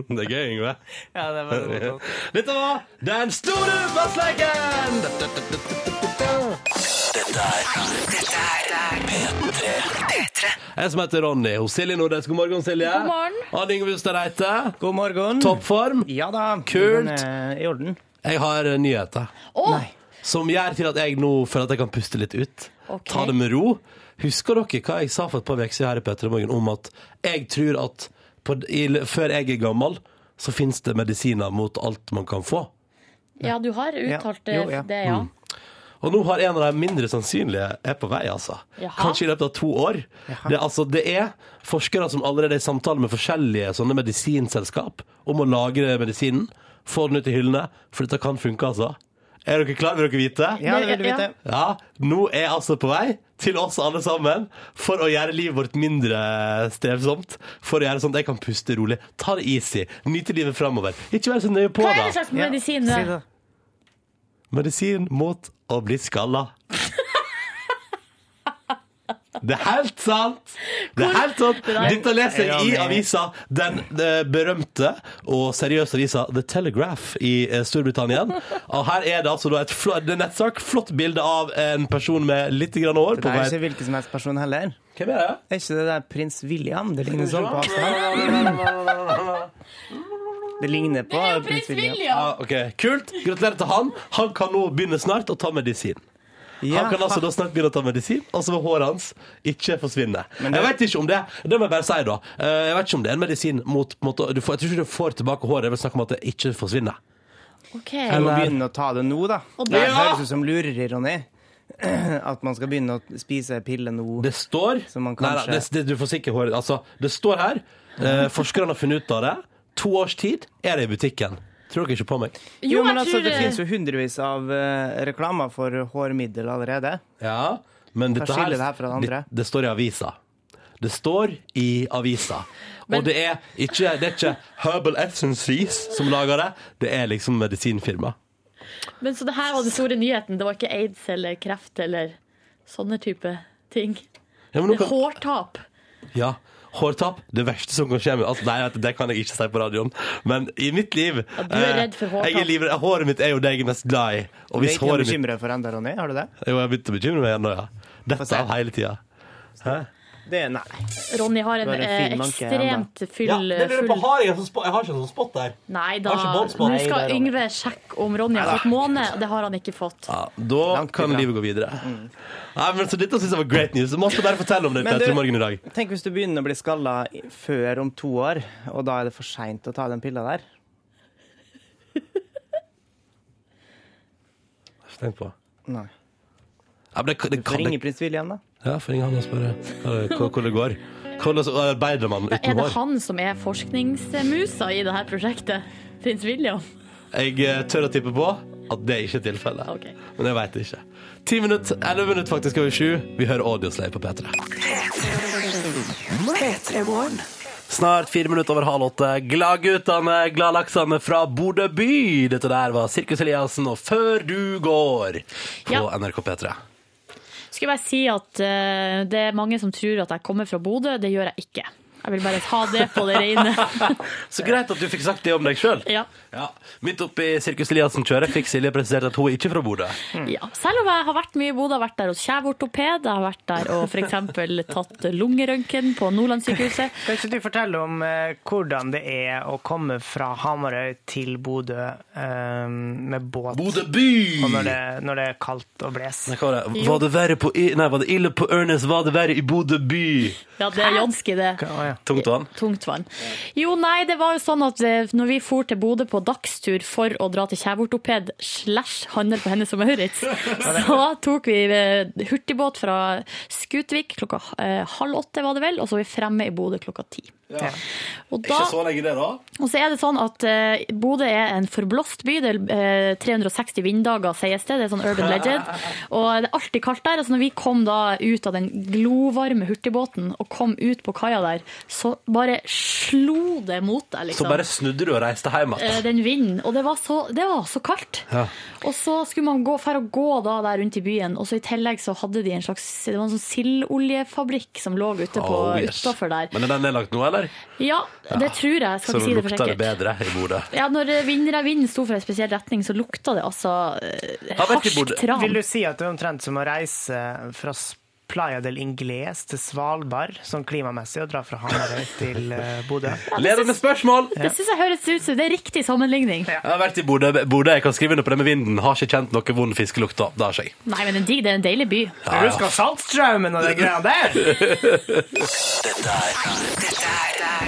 Speaker 2: Det er gøy, Yngve.
Speaker 4: Ja, det var det. var-
Speaker 2: Dette var Den store vassleiken!
Speaker 1: Dette er P3. P3.
Speaker 2: Jeg som heter Ronny. Hos Silje Nordnes. God morgen, Silje.
Speaker 3: God morgen.
Speaker 2: Anne Yngve Hustad Reite.
Speaker 4: God morgen.
Speaker 2: Toppform.
Speaker 4: Ja da.
Speaker 2: Kult.
Speaker 4: Den er I orden.
Speaker 2: Jeg har eh, nyheter.
Speaker 3: Å,
Speaker 2: Som gjør til at jeg nå føler at jeg kan puste litt ut.
Speaker 3: Ok.
Speaker 2: Ta det med ro. Husker dere hva jeg sa for et par uker siden her i Petter i Morgen om at jeg tror at på, i, før jeg er gammel, så finnes det medisiner mot alt man kan få.
Speaker 3: ja, du har uttalt
Speaker 4: Ja. Jo, ja.
Speaker 3: eh, det,
Speaker 2: Mm.
Speaker 3: ja.
Speaker 2: Og nå har en av de mindre sannsynlige er på vei, altså.
Speaker 3: Jaha.
Speaker 2: Kanskje i løpet av to år. Det, er altså, det er forskere som allerede er i samtale med forskjellige sånne medisinselskap om å lagre medisinen. Få den ut i hyllene, for dette kan funke, altså. Er dere klare? Vil dere vite?
Speaker 4: Ja, det vil du
Speaker 3: Ja.
Speaker 4: vite.
Speaker 2: Ja, nå er jeg altså på vei til oss alle sammen for å gjøre livet vårt mindre strevsomt. For å gjøre sånn at jeg kan puste rolig. Ta det easy. Nyte livet framover. Ikke vær så nøye på
Speaker 3: Hva er det
Speaker 2: det.
Speaker 3: slags medisin
Speaker 4: Si
Speaker 3: det er?
Speaker 4: det.
Speaker 2: Medisin mot å bli skalla. Det er helt sant! Det er helt sant. Dette leser jeg i avisa, den eh, berømte og seriøse avisa The Telegraph i eh, Storbritannia. Og her er det altså da et flott, det er en nettsak, flott bilde av en person med litt grann hår.
Speaker 4: Det
Speaker 2: På
Speaker 4: er
Speaker 2: vei.
Speaker 4: ikke hvilken som helst person heller.
Speaker 2: Hvem er det?
Speaker 4: Det er ikke det der prins William det ligner sånn på? Det ligner på prins William.
Speaker 2: Ja, ok, Kult. Gratulerer til han. Han kan nå begynne snart å ta medisin.
Speaker 4: Ja,
Speaker 2: Han kan altså da snart begynne å ta medisin, altså må håret hans ikke forsvinne. Jeg vet ikke om det Det må jeg bare si, da. Eh, Jeg vet ikke om det er en medisin mot på en måte, du får, Jeg tror ikke du får tilbake håret. Jeg vil snakke om at det ikke forsvinner.
Speaker 3: Ok.
Speaker 4: Du må begynne å ta det nå, da. Det
Speaker 3: det-
Speaker 4: høres ut som lureri, Ronny.
Speaker 9: at man skal begynne å spise piller nå.
Speaker 2: Det står
Speaker 9: Så man
Speaker 2: Nei, nei,
Speaker 9: kanskje-
Speaker 2: det, det, Du får sikkert høre altså, Det står her. Eh, forskerne har funnet ut av det. To års tid er det i butikken. Tror dere ikke på meg?
Speaker 9: Jo, men
Speaker 3: jeg
Speaker 9: altså,
Speaker 3: tror
Speaker 9: det finnes jo hundrevis av eh, reklamer for hårmiddel allerede.
Speaker 2: Ja, men dette
Speaker 9: skiller det her fra det andre?
Speaker 2: Det, det står i avisa. Det står i avisa. Og det er ikke, det er ikke Herbal Essences som lager det, det er liksom medisinfirma.
Speaker 3: eh, Men så det her var den store nyheten. Det var ikke aids eller kreft eller sånne type ting.
Speaker 2: Ja, men nå
Speaker 3: Det er
Speaker 2: kan-
Speaker 3: hårtap.
Speaker 2: Ja, hårtap, det verste som kan skje med altså, Nei, vet du, det kan jeg ikke si på radioen Men i mitt liv
Speaker 3: du er
Speaker 2: eh,
Speaker 3: redd for hårtap.
Speaker 2: jeg er livredd. Håret mitt er jo det jeg er mest glad i Og
Speaker 9: Du er
Speaker 2: hvis
Speaker 9: ikke noe
Speaker 2: håret mitt
Speaker 9: bekymret for enda, Ronny? Har du det?
Speaker 2: Jo, jeg har begynt å bekymre meg igjen nå, ja
Speaker 9: Få
Speaker 2: Dette
Speaker 9: se.
Speaker 2: er hele tiden Hæ?
Speaker 9: Det er nei.
Speaker 3: Ronny har en,
Speaker 9: Du har en
Speaker 3: eh,
Speaker 9: fin manke i
Speaker 3: ekstremt full, full
Speaker 2: har jeg, har ikke en sånn spot der
Speaker 3: Nei da.
Speaker 2: Har ikke
Speaker 3: Nå
Speaker 2: bånd på. Nei,
Speaker 3: skal Yngve sjekke om Ronny har fått måne. Det har han ikke fått.
Speaker 2: ja, Da
Speaker 9: Langt
Speaker 2: kan
Speaker 9: ifra.
Speaker 2: livet gå videre Nei, men så dette synes jeg var great news Du måtte bare fortelle om det
Speaker 9: Men
Speaker 2: etter
Speaker 9: du-
Speaker 2: morgen i dag
Speaker 9: Tenk hvis du begynner å bli skalla i- før om to år, og da er det for seint å ta den pilla der.
Speaker 2: Tenk på
Speaker 9: Nei.
Speaker 2: ja, men det, det,
Speaker 9: For
Speaker 2: kan,
Speaker 9: ringe
Speaker 2: det,
Speaker 9: prins William, da.
Speaker 2: ja, for ingen han og spørre eh, hva- Hvordan det går Hvordan arbeider man
Speaker 3: Er
Speaker 2: uten
Speaker 3: det
Speaker 2: hår?
Speaker 3: han som er forskningsmusa i det her prosjektet? Prins William?
Speaker 2: Jeg eh, tør å tippe på at det ikke er tilfellet.
Speaker 3: Ok.
Speaker 2: Men jeg veit ikke. Ti minutter, elleve minutter faktisk over sju. Vi hører Audioslay på P3.
Speaker 1: P3-morgen.
Speaker 2: Snart fire minutter over halv åtte. Gladguttene, gladlaksene fra Bodø by. Dette der var Sirkus Eliassen og Før du går på
Speaker 3: Ja.
Speaker 2: NRK P3.
Speaker 3: Skulle bare si at eh, det er mange som tror at jeg kommer fra Bodø. Det gjør jeg ikke. Jeg vil bare ta det på det rene.
Speaker 2: Så greit at du fikk sagt det om deg sjøl.
Speaker 3: Ja.
Speaker 2: Midt oppi Sirkus Eliassen-kjøret fikk Silje presisert at hun er ikke fra Bodø.
Speaker 3: Ja. Selv om jeg har vært mye i Bodø, jeg har vært der hos kjeveortoped, jeg har vært der og f.eks. tatt lungerøntgen på Nordlandssykehuset.
Speaker 4: Kan ikke du fortelle om eh, hvordan det er å komme fra Hamarøy til Bodø eh, med båt?
Speaker 2: Bodø by!
Speaker 4: Og når det, når det er kaldt og bles.
Speaker 2: Nei, hva var det? Var det verre på I- Nei, var det ille på Ørnes, var det verre i Bodø by?
Speaker 3: Ja, det er Jonski, det.
Speaker 4: Å, ja.
Speaker 2: Tungt vann.
Speaker 3: Tungtvann. Jo, nei, det var jo sånn at eh, når vi for til Bodø på dagstur for å dra til kjeveortoped slash handel på Hennes og Maurits, så tok vi eh, hurtigbåt fra Skutvik klokka eh, halv åtte, var det vel, og så var vi fremme i Bodø klokka ti. Og da,
Speaker 2: lenge det, da.
Speaker 3: og så er det sånn at eh, Bodø er en forblåst by. Det er eh, 360 vinddager, sies det. Det er sånn urban legend. Og det er alltid kaldt der. Altså, når vi kom da ut av den glovarme hurtigbåten og kom ut på kaia der, så bare slo det mot deg,
Speaker 2: Så
Speaker 3: liksom.
Speaker 2: bare snudde du og reiste hjem
Speaker 3: Eh,
Speaker 2: igjen.
Speaker 3: Den vinden. Og det var så, det var så kaldt.
Speaker 2: Ja.
Speaker 3: Og så skulle man gå, for å gå da der rundt i byen, og så i tillegg så hadde de en slags Det var en sånn sildoljefabrikk som lå ute på,
Speaker 2: Oh, yes.
Speaker 3: utafor der.
Speaker 2: Men er den nedlagt nå, eller?
Speaker 3: Ja, det tror jeg. Skal
Speaker 2: Så
Speaker 3: ikke si det for
Speaker 2: lukter det
Speaker 3: sikkert.
Speaker 2: bedre i Bodø.
Speaker 3: Ja, når vinden, vinden sto fra en spesiell retning, så lukta det altså eh,
Speaker 2: Ja, vet du,
Speaker 3: harsk
Speaker 2: Bodø,
Speaker 4: Vil
Speaker 3: tran.
Speaker 4: du si at det er omtrent som å reise fra S- Playa del Ingles til Svalbard, sånn klimamessig, og dra fra Hamarøy til eh, Bodø?
Speaker 2: Ledende spørsmål!
Speaker 3: Det syns jeg høres ut som det er riktig sammenligning.
Speaker 2: Jeg har vært i Bodø. Bodø, jeg kan skrive under på det med vinden. Har ikke kjent noe vond fiskelukt da. Det har ikke jeg.
Speaker 3: Nei, men det er digg. Det er en deilig by.
Speaker 4: Jeg husker Saltstraumen og det greia der!
Speaker 1: Dette er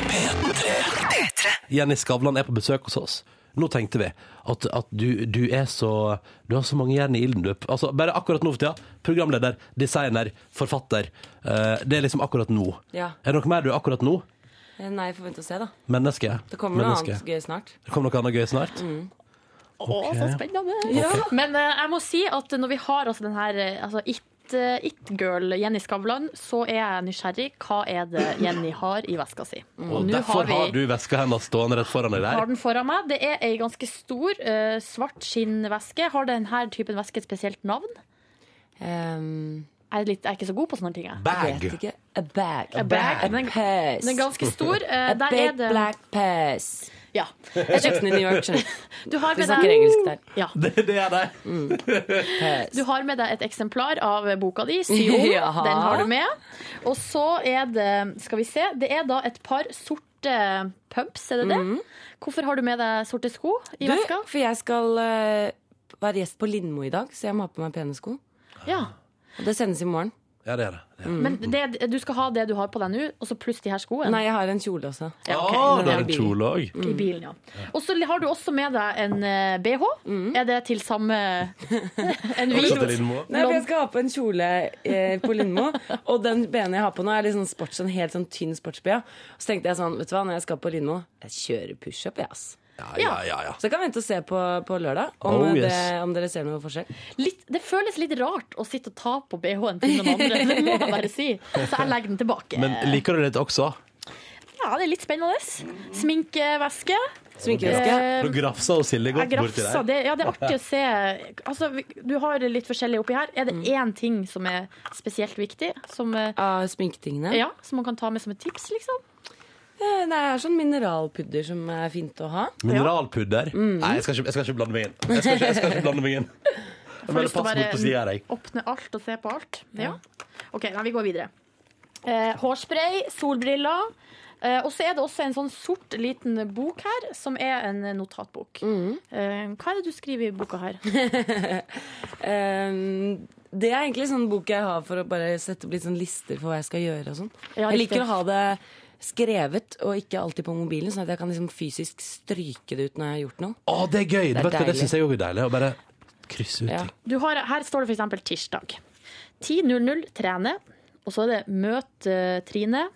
Speaker 1: P3. P3.
Speaker 2: Jenny Skavlan er på besøk hos oss. Nå tenkte vi at, at du, du er så Du har så mange jern i ilden, du. Altså, bare akkurat nå for tida. Programleder, designer, forfatter. Eh, det er liksom akkurat nå.
Speaker 10: Ja.
Speaker 2: Er det noe mer du er akkurat nå?
Speaker 10: Eh, Nei, får vente og se, da.
Speaker 2: Menneske?
Speaker 10: Det kommer noe
Speaker 2: Menneske.
Speaker 10: annet gøy snart.
Speaker 2: Det kommer noe annet gøy snart?
Speaker 3: Å, så spennende. Men eh, jeg må si at når vi har altså den her eh, altså, it- eh, It-girl Jenny Skavlan, så er jeg nysgjerrig. Hva er det Jenny har i veska si? Mm.
Speaker 2: Og
Speaker 3: nå
Speaker 2: derfor har,
Speaker 3: vi-
Speaker 2: du veska hennes stående rett foran deg
Speaker 3: har
Speaker 2: der.
Speaker 3: den foran meg. Det er ei ganske stor, eh, svart skinnveske. Har denne typen veske et spesielt navn?
Speaker 10: Ehm,
Speaker 3: Jeg er, litt, jeg er ikke så god på sånne ting, jeg.
Speaker 2: Bag.
Speaker 10: vet ikke. A bag. A
Speaker 3: bag.
Speaker 10: A purse.
Speaker 3: Den er ganske stor. Eh,
Speaker 10: A
Speaker 3: der
Speaker 10: big
Speaker 3: er det
Speaker 10: black purse.
Speaker 3: ja.
Speaker 10: Jeg kjøpte den i New York. skjønner du.
Speaker 3: du, har
Speaker 10: Vi
Speaker 3: med
Speaker 10: snakker
Speaker 3: deg,
Speaker 10: engelsk der.
Speaker 3: ja.
Speaker 2: Det, det er det.
Speaker 3: du har med deg et eksemplar av boka di, Sy om.
Speaker 10: Ja.
Speaker 3: Den har du med. Og så er det Skal vi se. Det er da et par sorte pumps, er det det? Hvorfor har du med deg sorte sko
Speaker 10: Mm.
Speaker 3: i
Speaker 10: Du,
Speaker 3: veska?
Speaker 10: for jeg skal eh, være gjest på Lindmo i dag, så jeg må ha på meg pene sko.
Speaker 3: Ja.
Speaker 10: Og det sendes i morgen.
Speaker 2: Ja, det er det. det, er det.
Speaker 3: Men det, du skal ha det du har på deg nå, og så pluss de her skoene?
Speaker 10: Mm. Nei, jeg har en kjole også.
Speaker 3: Ja, ok.
Speaker 2: Å,
Speaker 3: Men
Speaker 2: det
Speaker 3: i
Speaker 2: er en
Speaker 3: bilen.
Speaker 2: kjole òg.
Speaker 3: I bilen, ja. Og så har du også med deg en eh, BH.
Speaker 10: Mm.
Speaker 3: Er det til samme En hvit?
Speaker 10: Nei, for jeg skal ha på en kjole eh, på Lindmo, og den bena jeg har på nå, er litt sånn sports, en helt sånn tynn sportsbh. Så tenkte jeg sånn, vet du hva, når jeg skal på Lindmo, jeg kjører pushup, jeg, ass.
Speaker 2: Ja, ja, ja.
Speaker 10: Så jeg kan vente og se på, på lørdag om,
Speaker 2: Oh, yes.
Speaker 10: det, om dere ser noe forskjell.
Speaker 3: Litt, det føles litt rart å sitte og ta på BH-en til noen andre, det må jeg bare si. Så jeg legger den tilbake.
Speaker 2: Men liker du det også?
Speaker 3: Ja, det er litt spennende. Sminkevæske.
Speaker 10: Sminkevæske.
Speaker 2: Nå grafsa og Silje
Speaker 3: Jeg
Speaker 2: godt borti
Speaker 3: grafser.
Speaker 2: der.
Speaker 3: Det, ja, det er artig å se. Altså, vi- du har litt forskjellig oppi her. Er det én ting som er spesielt viktig? Som, eh,
Speaker 10: Av sminketingene.
Speaker 3: ja, som man kan ta med som et tips, liksom?
Speaker 10: Eh, Det er sånn mineralpudder som er fint å ha.
Speaker 2: Mineralpudder. Nei, jeg skal, ikke, jeg skal ikke blande meg inn. Jeg skal ikke, jeg skal ikke blande meg inn. Jeg
Speaker 3: Får lyst til
Speaker 2: bare
Speaker 3: å
Speaker 2: passer
Speaker 3: bare
Speaker 2: bort på siden her, jeg.
Speaker 3: Åpne alt og se på alt. Ja. OK, nei, vi går videre. Eh, hårspray, solbriller. Eh, og så er det også en sånn sort liten bok her, som er en notatbok. Eh, hva er det du skriver i boka her?
Speaker 10: Eh, det er egentlig sånn bok jeg har for å bare sette opp litt sånn lister for hva jeg skal gjøre og sånn.
Speaker 3: Ja,
Speaker 10: jeg
Speaker 3: riktig.
Speaker 10: liker å ha det skrevet og ikke alltid på mobilen, sånn at jeg kan liksom fysisk stryke det ut når jeg har gjort noe.
Speaker 2: Å, det er gøy!
Speaker 10: er
Speaker 2: Det, det, det
Speaker 10: deilig.
Speaker 2: syns jeg òg er deilig. Å bare krysse ut
Speaker 10: Ja.
Speaker 2: ting.
Speaker 3: Du har, her står det f.eks. tirsdag. 10.00 trene. Og så er det møt eh, Trine.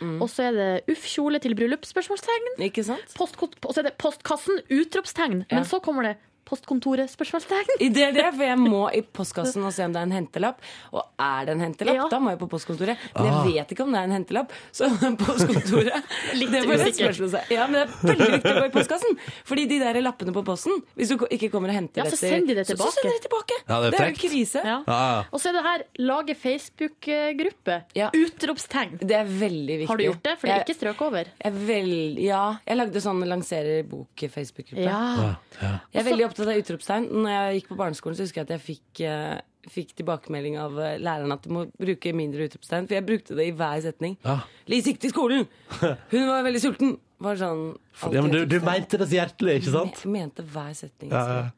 Speaker 4: Mm.
Speaker 3: Og så er det uff kjole til bryllup? spørsmålstegn.
Speaker 10: Ikke sant?
Speaker 3: Postkort- Og så er det postkassen? Utropstegn. Men så kommer det postkontoret? spørsmålstegn.
Speaker 10: I det er det, for jeg må i postkassen og se om det er en hentelapp. Og er det en hentelapp,
Speaker 3: Ja.
Speaker 10: da må jeg på postkontoret. Men
Speaker 2: Ah.
Speaker 10: jeg vet ikke om det er en hentelapp, så postkontoret
Speaker 3: Litt
Speaker 10: det var et
Speaker 3: usikkert.
Speaker 10: spørsmål. å si. Ja, men det er veldig viktig å gå i postkassen. Fordi de der lappene på posten, hvis du ko- ikke kommer og henter
Speaker 3: Ja, så
Speaker 10: etter-
Speaker 3: send de det
Speaker 10: så-
Speaker 3: tilbake.
Speaker 10: Så sender de tilbake.
Speaker 2: Ja, det er
Speaker 10: det er jo
Speaker 2: frekt.
Speaker 10: krise.
Speaker 3: Ja.
Speaker 2: Ja,
Speaker 3: Og så er det her lage Facebook-gruppe.
Speaker 10: Ja.
Speaker 3: Utropstegn.
Speaker 10: Det er veldig viktig.
Speaker 3: Har du gjort det? For det er
Speaker 10: Jeg-
Speaker 3: ikke strøk over.
Speaker 10: jeg er vel- ja, jeg lagde sånn lanserer bok-Facebook-gruppe.
Speaker 3: Ja.
Speaker 10: Jeg er veldig opptatt av utropstegn. Når jeg gikk på barneskolen, så husker jeg at jeg fikk, eh, fikk tilbakemelding av eh, læreren at du må bruke mindre utropstegn. For jeg brukte det i hver setning.
Speaker 2: Ja.
Speaker 10: Lise gikk til skolen! Hun var veldig sulten! Var sånn
Speaker 2: ja. ja men du, du mente det så hjertelig, ikke sant?
Speaker 10: Jeg mente hver setning.
Speaker 2: Ja, ja.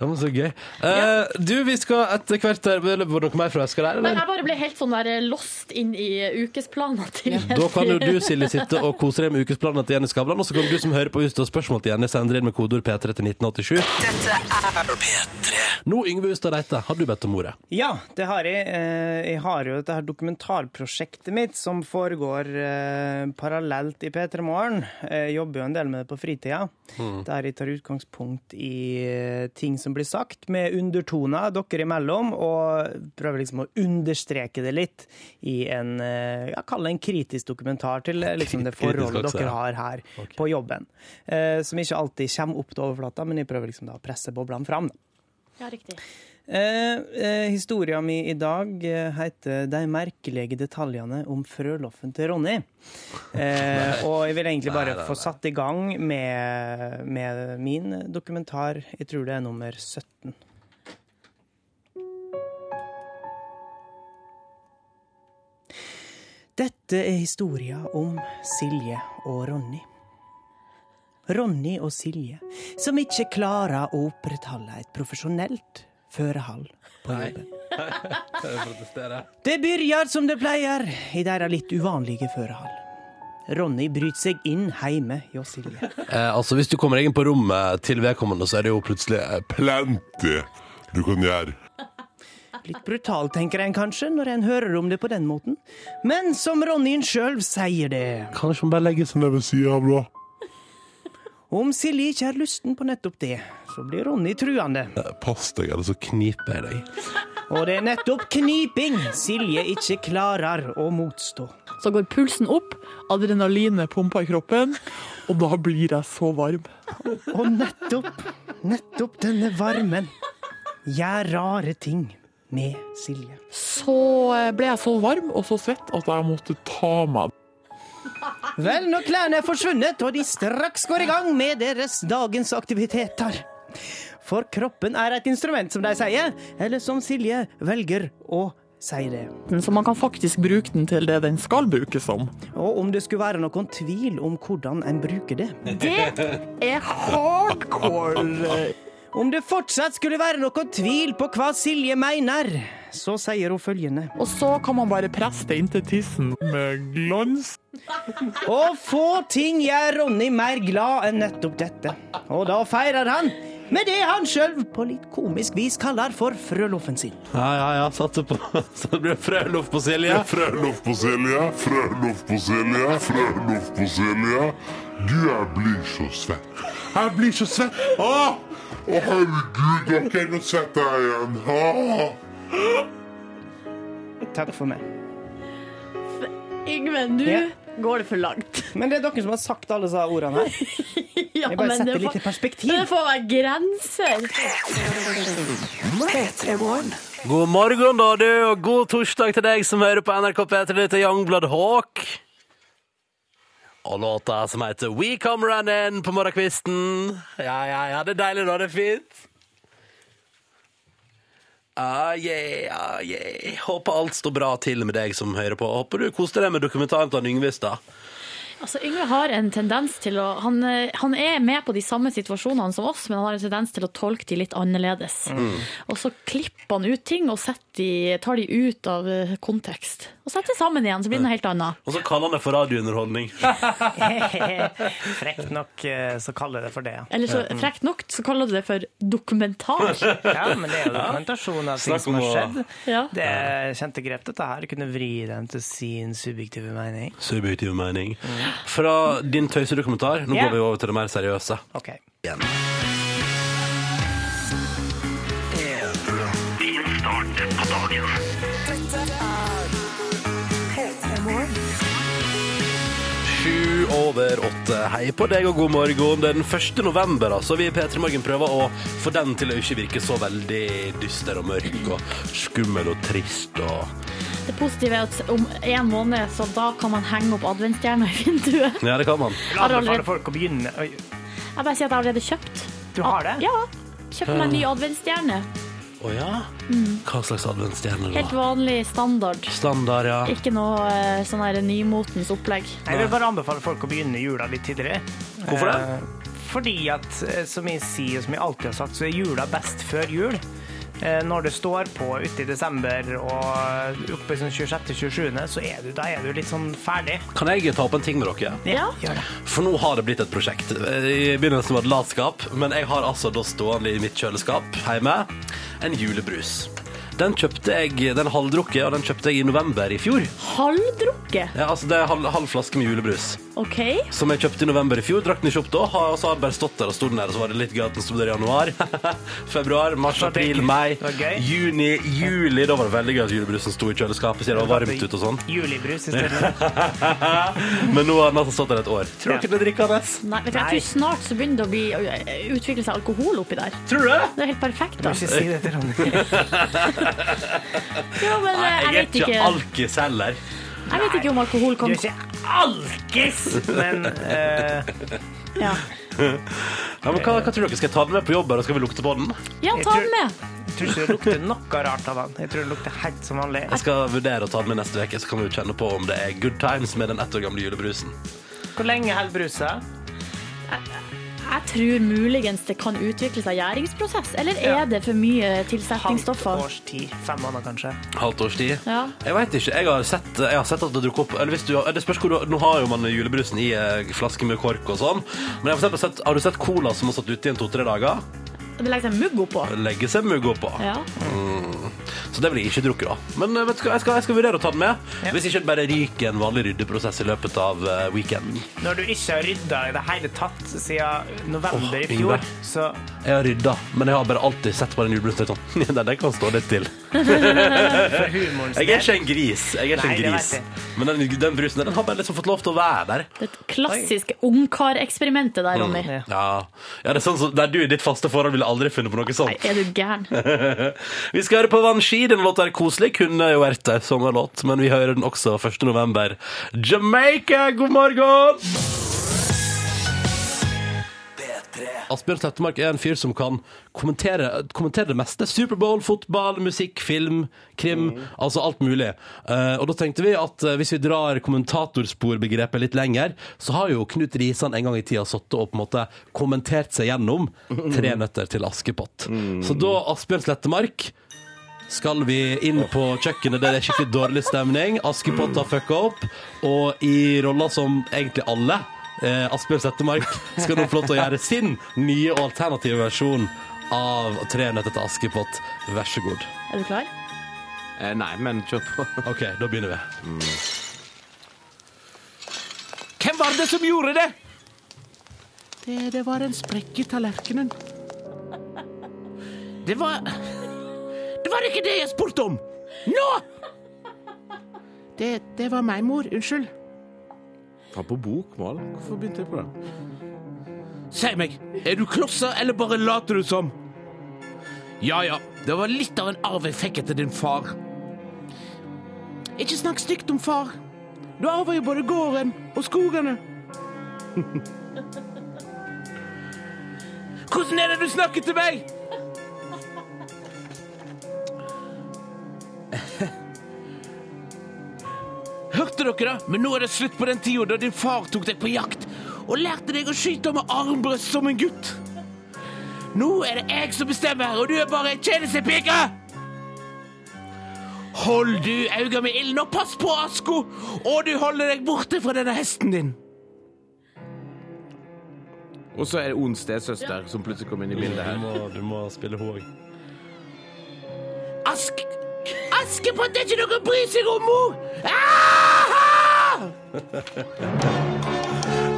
Speaker 2: ja, men så gøy. Eh, du, vi skal etter hvert der, Var det noe mer fra Esker der,
Speaker 3: Men
Speaker 2: eller?
Speaker 3: jeg bare ble helt sånn der eh, lost inn i eh, ukesplanene til
Speaker 2: Da kan jo du, Silje, sitte og kose deg med ukesplanene til Jenny Skavlan. Og så kan du som hører på hvis du har spørsmål til Jenny, sende inn med kodeord P3 til 1987.
Speaker 1: Dette er P3.
Speaker 2: Nå, Yngve Hustad Reite, har du bedt om ordet?
Speaker 4: Ja, det har jeg. Eh, Jeg har jo dette her dokumentarprosjektet mitt som foregår eh, parallelt i P3 Morgen. Jeg jobber jo en del med det på fritida.
Speaker 2: Mm.
Speaker 4: Der jeg tar utgangspunkt i eh, ting som blir sagt, med undertoner dere imellom, og prøver liksom å understreke det litt i en eh, ja, kall det en kritisk dokumentar til eh, liksom det
Speaker 2: Kritisk
Speaker 4: forholdet
Speaker 2: også,
Speaker 4: dere
Speaker 2: ja.
Speaker 4: har her på jobben. Eh, Som ikke alltid kommer opp til overflata, men jeg prøver liksom da å presse boblene fram. da.
Speaker 3: Ja, riktig.
Speaker 4: Eh, eh, Historia mi i dag eh, heter 'De merkelige detaljene om frøloffen til Ronny'. Eh, og jeg vil egentlig bare få satt i gang med, med min dokumentar. Jeg tror det er nummer 17. Dette er historia om Silje og Ronny. Ronny og Silje, som ikke klarer å opprettholde et profesjonelt førehall på jobben. Det byrjar som det pleier i deres litt uvanlige førehall. Ronny bryter seg inn heime hjå Silje.
Speaker 2: Eh, altså, Hvis du kommer inn på rommet til vedkommende, så er det jo plutselig eh, plenty du kan gjøre.
Speaker 4: Litt brutal, tenker en kanskje, når en hører om det på den måten. Men som Ronny sjøl sier det
Speaker 2: Kanskje man bare legger seg ned ved sida av, da.
Speaker 4: Om Silje ikke har lysten på nettopp det, så blir Ronny truende.
Speaker 2: Pass deg, eller så kniper jeg deg.
Speaker 4: Og det er nettopp kniping Silje ikke klarer å motstå.
Speaker 11: Så går pulsen opp, adrenalinet pumper i kroppen, og da blir jeg så varm.
Speaker 4: Og nettopp, nettopp denne varmen gjør rare ting med Silje.
Speaker 11: Så eh, ble jeg så varm og så svett at jeg måtte ta meg.
Speaker 4: Vel, når klærne er forsvunnet og de straks går i gang med deres dagens aktiviteter. For kroppen er et instrument, som de sier, eller som Silje velger å si det.
Speaker 11: Så man kan faktisk bruke den til det den skal brukes som.
Speaker 4: Og om det skulle være noen tvil om hvordan en bruker det
Speaker 11: Det er hardcore!
Speaker 4: Om det fortsatt skulle være noen tvil på hva Silje mener, så sier hun følgende.
Speaker 11: Og så kan man bare presse det inntil tissen med glans.
Speaker 4: Og få ting gjør Ronny mer glad enn nettopp dette. Og da feirer han med det han sjøl på litt komisk vis kaller for frøloffen sin.
Speaker 2: Ja, ja, ja. Satser på Så det blir frøloff på Silje.
Speaker 12: Frøloff på Silje, frøloff på Silje, frøloff på Silje. Du, jeg blir så svett. Jeg blir så svett. Å, Å, herregud, ok, nå svetter jeg igjen. Å.
Speaker 4: Takk for meg.
Speaker 3: Yngve, nå går det for langt.
Speaker 4: Men det er dere som har sagt alle disse ordene her.
Speaker 3: Ja,
Speaker 4: Jeg bare
Speaker 3: men
Speaker 4: setter
Speaker 3: det
Speaker 4: litt
Speaker 3: får-
Speaker 4: i perspektiv.
Speaker 3: Det får være grenser.
Speaker 2: God morgen, da, du, og god torsdag til deg som hører på NRK P3 dette er Youngblood Hawk. Og låta som heter We Come Running på morgenkvisten. Ja, ja, ja, det er deilig, da. Det er fint. Ah, yeah, ah, yeah. Håper alt står bra til med deg som hører på. Håper du koser deg med dokumentaren til han Yngve i stad.
Speaker 3: Altså, Yngve har en tendens til å han, eh, han er med på de samme situasjonene som oss, men han har en tendens til å tolke de litt annerledes.
Speaker 2: Mm.
Speaker 3: Og så klipper han ut ting og setter de, tar de ut av eh, kontekst. Og setter det sammen igjen, så blir det noe helt annet.
Speaker 2: Og så kaller han det for radiounderholdning.
Speaker 4: Frekt nok eh, så kaller jeg det for det. ja.
Speaker 3: Eller så frekt nok så kaller du det for dokumentar.
Speaker 4: Ja, men det er jo dokumentasjon av ting
Speaker 2: Snakk
Speaker 4: som
Speaker 2: om
Speaker 4: har
Speaker 2: å-
Speaker 4: skjedd.
Speaker 3: Ja.
Speaker 4: Det er kjente grep, dette her. Kunne vri dem til sin subjektive mening.
Speaker 2: Subjektiv mening. Fra din tøysedokumentar, nå
Speaker 4: Ja.
Speaker 2: går vi over til det mer seriøse.
Speaker 4: Ok.
Speaker 2: Igjen. Sju over åtte. Hei på deg og god morgen. Det er den 1. november, altså. Vi i P3 Morgen prøver å få den til å ikke virke så veldig dyster og mørk og skummel og trist og
Speaker 3: Det positive er at om en måned så da kan man henge opp adventsstjerna i vinduet.
Speaker 2: Ja, det kan man.
Speaker 3: Har du allerede-
Speaker 4: folk å begynne Oi,
Speaker 3: Jeg bare sier at jeg har allerede kjøpt.
Speaker 4: Du har det?
Speaker 3: Ja. Kjøpte meg en ny adventsstjerne.
Speaker 2: Å ja? Hva slags adventsstjerne,
Speaker 3: Helt
Speaker 2: da?
Speaker 3: vanlig standard.
Speaker 2: Standard, ja.
Speaker 3: Ikke noe eh, sånn her nymotens opplegg.
Speaker 4: Jeg vil bare anbefale folk å begynne jula litt tidligere.
Speaker 2: Hvorfor det?
Speaker 4: Eh, fordi at, eh, som jeg sier, som jeg alltid har sagt, så er jula best før jul. Eh, Når det står på ute i desember og oppe i sånn 26.-27., så er du, da er du litt sånn ferdig.
Speaker 2: Kan jeg ta opp en ting med dere?
Speaker 4: Ja. Gjør det.
Speaker 2: For nå har det blitt et prosjekt. Eh, I begynnelsen var det latskap, men jeg har altså da stående i mitt kjøleskap hjemme en julebrus. Den kjøpte jeg, den halvdrukket, og den kjøpte jeg i november i fjor.
Speaker 3: Halvdrukket?
Speaker 2: Ja, altså det er halv, halv flaske med julebrus.
Speaker 3: OK.
Speaker 2: Som jeg kjøpte i november i fjor, drakk den ikke opp da, har- og så har den bare stått der og stod den der, og så var det litt gøy at den stod der i januar, februar, mars, april, mai, juni, juli. Da var det veldig gøy at julebrusen sto i kjøleskapet, siden det var varmt ute og sånn.
Speaker 4: Julebrus i stedet.
Speaker 2: Men nå har den altså stått der et år. Tror dere det er drikkende?
Speaker 3: Nei, vet du, jeg tror snart så begynner det å bli, eh, utvikle seg alkohol oppi der.
Speaker 2: Tror du det?
Speaker 3: Det er helt perfekt, da.
Speaker 4: det til Ronny.
Speaker 3: Ja, men eh, jeg
Speaker 2: Jeg er
Speaker 3: vet
Speaker 2: ikke
Speaker 3: ikke,
Speaker 2: alkis heller.
Speaker 3: jeg vet ikke om alkohol
Speaker 4: Du
Speaker 3: kan
Speaker 4: er ikke alkis, men eh,
Speaker 3: Ja,
Speaker 2: Ja, men hva, hva tror dere? Skal jeg ta den med på jobb, eller skal vi lukte på den?
Speaker 3: ja
Speaker 4: Jeg
Speaker 3: ta
Speaker 4: tror-
Speaker 3: den med.
Speaker 4: jeg tror ikke det lukter noe rart av han. Jeg tror det lukter helt som vanlig.
Speaker 2: Jeg skal vurdere å ta den med neste uke, så kan vi jo kjenne på om det er good times med den ett år gamle julebrusen.
Speaker 4: Hvor lenge holder brusa?
Speaker 3: Jeg tror muligens det kan utvikle seg gjæringsprosess, eller er det for mye tilsetningsstoffer?
Speaker 4: Års tid. Fem måneder, kanskje.
Speaker 2: Halvt års tid.
Speaker 3: Ja.
Speaker 2: Jeg vet ikke. Jeg har sett, jeg har sett at det dukker opp eller hvis du, har- det spørs hvor du, Nå har jo man julebrusen i eh, flaske med kork og sånn, men jeg har, for eksempel sett, har du sett cola som har stått ute i en to-tre dager?
Speaker 3: Det legger seg mugg oppå.
Speaker 2: Legger seg mugg oppå.
Speaker 3: Ja.
Speaker 2: Mm. Så det blir ikke drukket, da. Men eh, vet du hva, jeg skal, jeg skal vurdere å ta den med. Hvis ikke det bare ryker en vanlig ryddeprosess i løpet av eh, weekenden.
Speaker 4: Når du ikke har rydda i det hele tatt siden november i
Speaker 2: Åh,
Speaker 4: fjor,
Speaker 2: Yngve.
Speaker 4: så
Speaker 2: Jeg har rydda, men jeg har bare alltid sett på den julebrusen og tenkt sånn «Nei, Den kan stå litt til.
Speaker 4: For humorens
Speaker 2: Jeg er ikke en gris. Jeg er ikke
Speaker 4: Nei,
Speaker 2: en
Speaker 4: det
Speaker 2: gris.
Speaker 4: vet jeg.
Speaker 2: Men den, den brusen der, den har bare liksom fått lov til å være der.
Speaker 3: Det klassiske ungkareksperimentet der, Ronny.
Speaker 2: Mm. Ja. ja, det er sånn som der du i ditt faste forhold ville aldri funnet på noe sånt.
Speaker 3: Er du gæren?
Speaker 2: vi skal høre på Vanski. Denne låta er koselig. Kunne jo vært ei sommerlåt, men vi hører den også 1. november. Jamaica, god morgen!
Speaker 1: P3.
Speaker 2: Asbjørn Slettemark er en fyr som kan kommentere, kommentere det meste. Superbowl, fotball, musikk, film, krim. Altså alt mulig. Eh, og da tenkte vi at eh, hvis vi drar kommentatorsporbegrepet litt lenger, så har jo Knut Risan en gang i tida sittet og på en måte kommentert seg gjennom Tre nøtter til Askepott. Så da, Asbjørn Slettemark skal vi inn på kjøkkenet der det er skikkelig dårlig stemning. Askepott har fucka opp. Og i roller som egentlig alle, eh, Asbjørn Settemark, skal nå få lov til å gjøre sin nye og alternative versjon av Tre nøtter til Askepott. Vær så god.
Speaker 3: Er du klar?
Speaker 13: Eh, nei, men kjør på.
Speaker 2: OK, da begynner vi.
Speaker 13: Hvem var det som gjorde det?
Speaker 11: Det, det var en sprekk i tallerkenen.
Speaker 13: Det var Det var ikke det jeg spurte om! Nå!
Speaker 11: Det, det var meg, mor. Unnskyld.
Speaker 13: Var på bokmål? Hvorfor begynte jeg på det? Si meg, er du klossa, eller bare later du som? Ja ja, det var litt av en arv jeg fikk etter din far.
Speaker 11: Ikke snakk stygt om far. Du arver jo både gården og skogene.
Speaker 13: Hvordan er det du snakker til meg? Hørte dere det? Men nå er det slutt på den tida da din far tok deg på jakt og lærte deg å skyte med armbrøst som en gutt. Nå er det jeg som bestemmer, her, og du er bare ei tjenestepike! Hold du øynene med ilden, og pass på Asko! Og du holder deg borte fra denne hesten din. Og så er det ond stesøster som plutselig kom inn i bildet her.
Speaker 2: Du må, du må spille hun òg.
Speaker 13: Ask... Askepott er ikke noe å bry seg om, mor! Ah!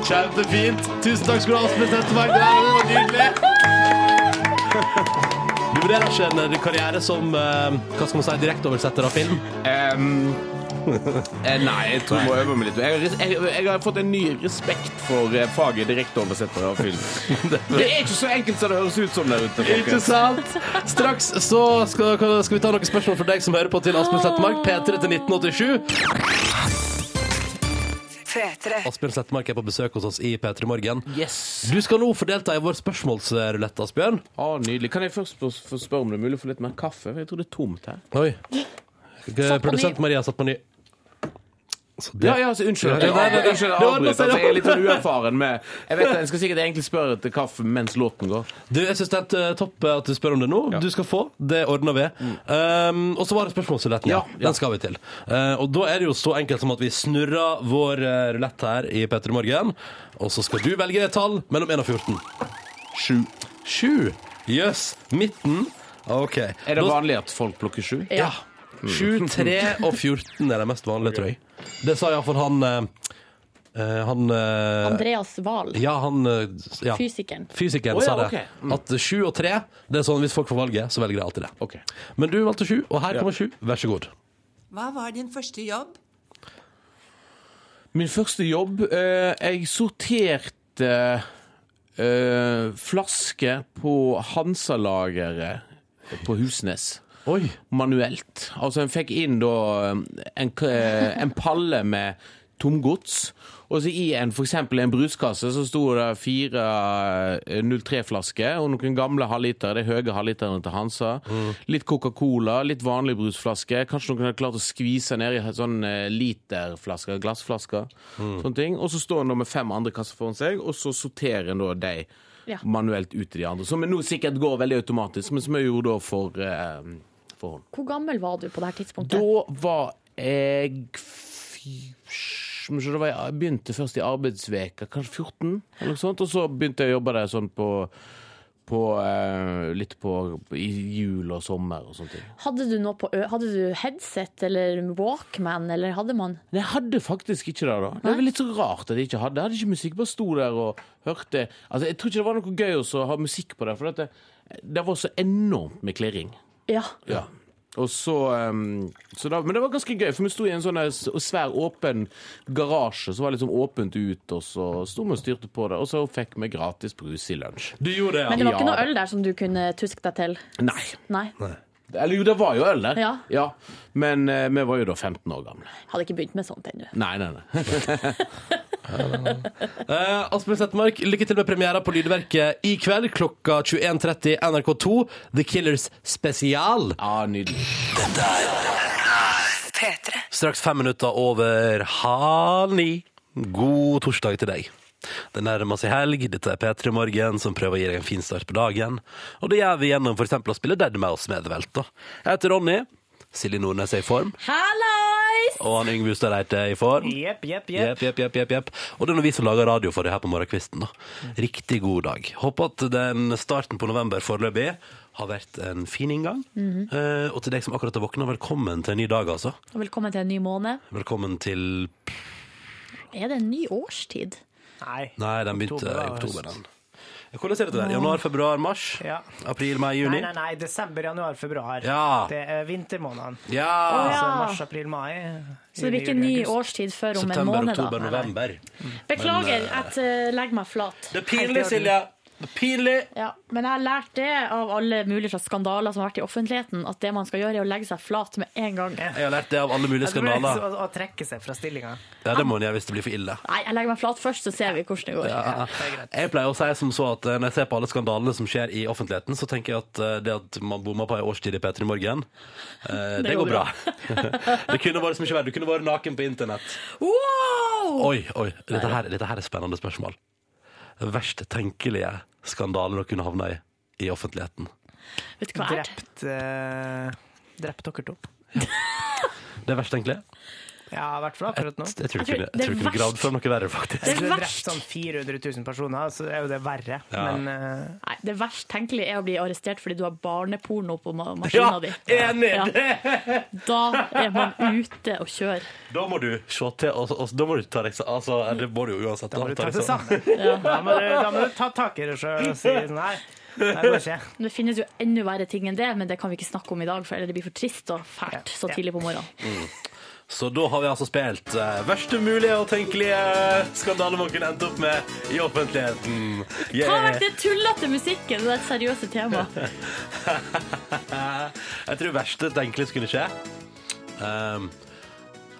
Speaker 2: Kjempefint. Tusen takk skal du ha, Asbjørn Settemark. Det der var nydelig. Du vurderer ikke en eh, karriere som eh, hva skal man si, direkteoversetter av film?
Speaker 13: Eh, nei, jeg tror jeg må øve meg litt. Jeg, har- jeg, jeg har fått en ny respekt for eh, faget direkteoversettere av film. Det er ikke så enkelt som det høres ut som der ute. folkens.
Speaker 2: Ikke sant? Straks så skal, skal vi ta noen spørsmål for deg som hører på til Asbjørn Slettemark. P3 til 1987. Asbjørn Slettemark er på besøk hos oss i P3 Morgen. Du skal nå få delta i vår spørsmålsrulett, Asbjørn.
Speaker 13: Å, Nydelig. Kan jeg først få- få spørre om det er mulig å få litt mer kaffe? For jeg tror det er tomt her.
Speaker 2: Oi.
Speaker 13: Satt på
Speaker 2: Produsent
Speaker 13: ny.
Speaker 2: Maria satt på ny. Så det-
Speaker 13: Ja, ja, altså, unnskyld.
Speaker 2: Ja,
Speaker 13: at Jeg,
Speaker 2: nei, nei, nei.
Speaker 13: unnskyld,
Speaker 2: Det
Speaker 13: jeg,
Speaker 2: ordner
Speaker 13: avbryter.
Speaker 2: seg,
Speaker 13: altså, jeg er litt sånn
Speaker 2: det ordner seg.
Speaker 13: uerfaren med Jeg vet det, jeg skal sikkert egentlig spørre etter kaffe mens låten går.
Speaker 2: Du, jeg syns det er et eh, topp eh, at du spør om det nå. Du skal få. Det ordner vi. Um, og så var det spørsmålsruletten. Ja, Den skal vi til. Eh, og da er det jo så enkelt som at vi snurrer vår eh, rulett her i P3 Morgen, og så skal du velge et tall mellom 1 og 14. 7. 7. Jøss. Midten. OK.
Speaker 13: Er det vanlig at folk plukker sju?
Speaker 2: Ja. 7, 3 og 14 er det mest vanlige, tror jeg. Det sa iallfall han eh, eh, Han eh,
Speaker 3: Andreas Wahl.
Speaker 2: ja, han eh, ja.
Speaker 3: Fysikeren.
Speaker 2: Fysikeren
Speaker 3: Å, ja,
Speaker 2: sa det.
Speaker 3: ok. Mm.
Speaker 2: At sju og tre, det er sånn hvis folk får valget, så velger de alltid det. Men du valgte sju, og her kommer sju. Vær så god.
Speaker 14: Hva var din første jobb?
Speaker 13: Min første jobb eh, Jeg sorterte eh, flasker på Hansa-lageret på Husnes. Manuelt. Altså, en fikk inn da Um, en, k- eh, en palle med tomgods. Og så i en, for eksempel en bruskasse så sto det fire 03-flasker eh, og noen gamle halvliter, de høye halvliterne til Hansa.
Speaker 2: Mm.
Speaker 13: Litt Coca-Cola, litt vanlig brusflaske. Kanskje noen hadde klart å skvise ned i sånn eh, literflasker, glassflasker. Sånne ting. Og så står en da med fem andre kasser foran seg, og så sorterer en da de
Speaker 3: Ja.
Speaker 13: manuelt ut til de andre. Som nå sikkert går veldig automatisk, men som jeg gjorde da for, eh, for hånd.
Speaker 3: Hvor gammel var du på det her tidspunktet?
Speaker 13: Da var jeg fy- Skal vi se, da var jeg, jeg begynte først i arbeidsveka, kanskje 14, eller noe sånt. Og så begynte jeg å jobbe der sånn på, på eh, litt på i jul og sommer og sånne ting.
Speaker 3: Hadde du, noe på ø hadde du headset eller Walkman, eller hadde man?
Speaker 13: Men jeg hadde faktisk ikke det da. Det er vel litt så rart at jeg ikke hadde. Jeg hadde ikke musikk, bare sto der og hørte. Altså, jeg tror ikke det var noe gøy også å ha musikk på det, for at det, det var så enormt med klirring.
Speaker 3: Ja.
Speaker 13: Ja. Og så, um, så da, men det var ganske gøy, for vi sto i en sånn der s- svær åpen garasje som var liksom åpent ut, og så sto vi og styrte på det, og så fikk vi gratis brus i lunsj.
Speaker 2: Du gjorde
Speaker 3: Men det var ikke noe øl der som du kunne tuske deg til?
Speaker 13: Nei.
Speaker 3: Nei.
Speaker 13: Eller jo, det var jo øl der.
Speaker 3: Ja.
Speaker 13: Men eh, vi var jo da 15 år gamle.
Speaker 3: Hadde ikke begynt med sånt ennå.
Speaker 13: Nei, nei, nei.
Speaker 2: Eh, Asbjørn Settemark, lykke til med premiera på Lydverket i kveld klokka 21.30 NRK2. The Killers spesial. Ja, nydelig. Straks fem minutter over halv ni. God torsdag til deg. Det nærmer seg helg. Dette er P3 Morgen, som prøver å gi deg en fin start på dagen. Og det gjør vi gjennom f.eks. å spille Dead Mouse med The Velt, da. Jeg heter Ronny. Silje Nordnes er i form.
Speaker 3: Hallois!
Speaker 2: Og han Yngve Ustad Reite er i form.
Speaker 4: Jepp, jepp,
Speaker 2: Jepp, jepp, jepp, jepp, jepp. Og det er når vi som lager radio for det her på morgenkvisten. da. Riktig god dag. Håper at den starten på november foreløpig har vært en fin inngang.
Speaker 3: Mhm.
Speaker 2: Eh, og til deg som akkurat har våkna, velkommen til en ny dag, altså.
Speaker 3: Og velkommen til en ny måned.
Speaker 2: Velkommen til
Speaker 3: Er det en ny årstid?
Speaker 4: Nei.
Speaker 2: Nei, den begynte
Speaker 4: Oktober
Speaker 2: i
Speaker 4: og
Speaker 2: oktober,
Speaker 4: høst.
Speaker 2: den. Hvordan ser det ut der? Januar, februar, mars?
Speaker 4: Ja.
Speaker 2: April, mai,
Speaker 4: Nei,
Speaker 2: juni?
Speaker 4: nei, nei. Desember, januar, februar.
Speaker 2: Ja.
Speaker 4: Det er vintermånedene.
Speaker 2: Ja.
Speaker 3: Å, ja.
Speaker 4: Altså mars, april, mai.
Speaker 3: Så det
Speaker 4: juni,
Speaker 3: blir ikke en
Speaker 4: juli,
Speaker 3: ny
Speaker 4: august.
Speaker 3: årstid før om en
Speaker 2: September,
Speaker 3: måned,
Speaker 2: oktober,
Speaker 3: da.
Speaker 2: november.
Speaker 3: Beklager
Speaker 2: Men, eh,
Speaker 3: at jeg legger meg flat.
Speaker 2: Det er pinlig, Silje. Det er pinlig.
Speaker 3: Ja, men jeg har lært det av alle mulige slags skandaler som har vært i offentligheten, at det man skal gjøre, er å legge seg flat med en gang.
Speaker 2: Jeg har lært det av alle mulige
Speaker 4: Jeg tror det er
Speaker 2: skandaler.
Speaker 4: så- Å, å trekke seg fra stillinga.
Speaker 2: Ja, det må en gjøre hvis det blir for ille.
Speaker 3: Nei, jeg legger meg flat først, så ser vi hvordan det går.
Speaker 2: Ja. Jeg pleier å si som så at eh, når jeg ser på alle skandalene som skjer i offentligheten, så tenker jeg at eh, det at man bomma på ei årstid i P3 Morgen, eh, det, går bra. det kunne vært så mye verre. Du kunne vært naken på internett.
Speaker 3: Wow!
Speaker 2: Oi, oi. Dette her, dette her er spennende spørsmål. Verst tenkelige skandale dere kunne havna i i offentligheten.
Speaker 3: Vet du hva jeg er?
Speaker 4: Drept, eh, drept dere to.
Speaker 2: Det er verst tenkelige?
Speaker 4: Ja, i hvert fall akkurat nå.
Speaker 2: Jeg tror ikke jeg tror ikke du kunne gravd fram noe verre, faktisk.
Speaker 4: Jeg tror det er drept sånn 400 000 personer, så er jo det verre.
Speaker 2: Ja.
Speaker 4: Men eh,
Speaker 3: Nei, det verst tenkelige er å bli arrestert fordi du har barneporno på ma maskina
Speaker 2: Ja,
Speaker 3: di.
Speaker 2: enig.
Speaker 3: Da er man ute og kjører.
Speaker 2: Da må du se til og, og, Da må du ta deg sa- altså, Det må du jo uansett. Da
Speaker 4: må du ta
Speaker 2: deg
Speaker 4: deg
Speaker 2: sammen.
Speaker 4: da, må du, da må du ta tak i det sjøl og si sånn her. Det her går ikke.
Speaker 3: Men Det finnes jo enda verre ting enn det, men det kan vi ikke snakke om i dag, for ellers det blir for trist og fælt så tidlig på morgenen.
Speaker 2: Mm. Så da har vi altså spilt eh, verste mulige og tenkelige skandale man kunne endt opp med i offentligheten. Yeah.
Speaker 3: Ta vekk det tullete musikken, det er et seriøse tema.
Speaker 2: Jeg tror verste tenkelige skulle skje. Um,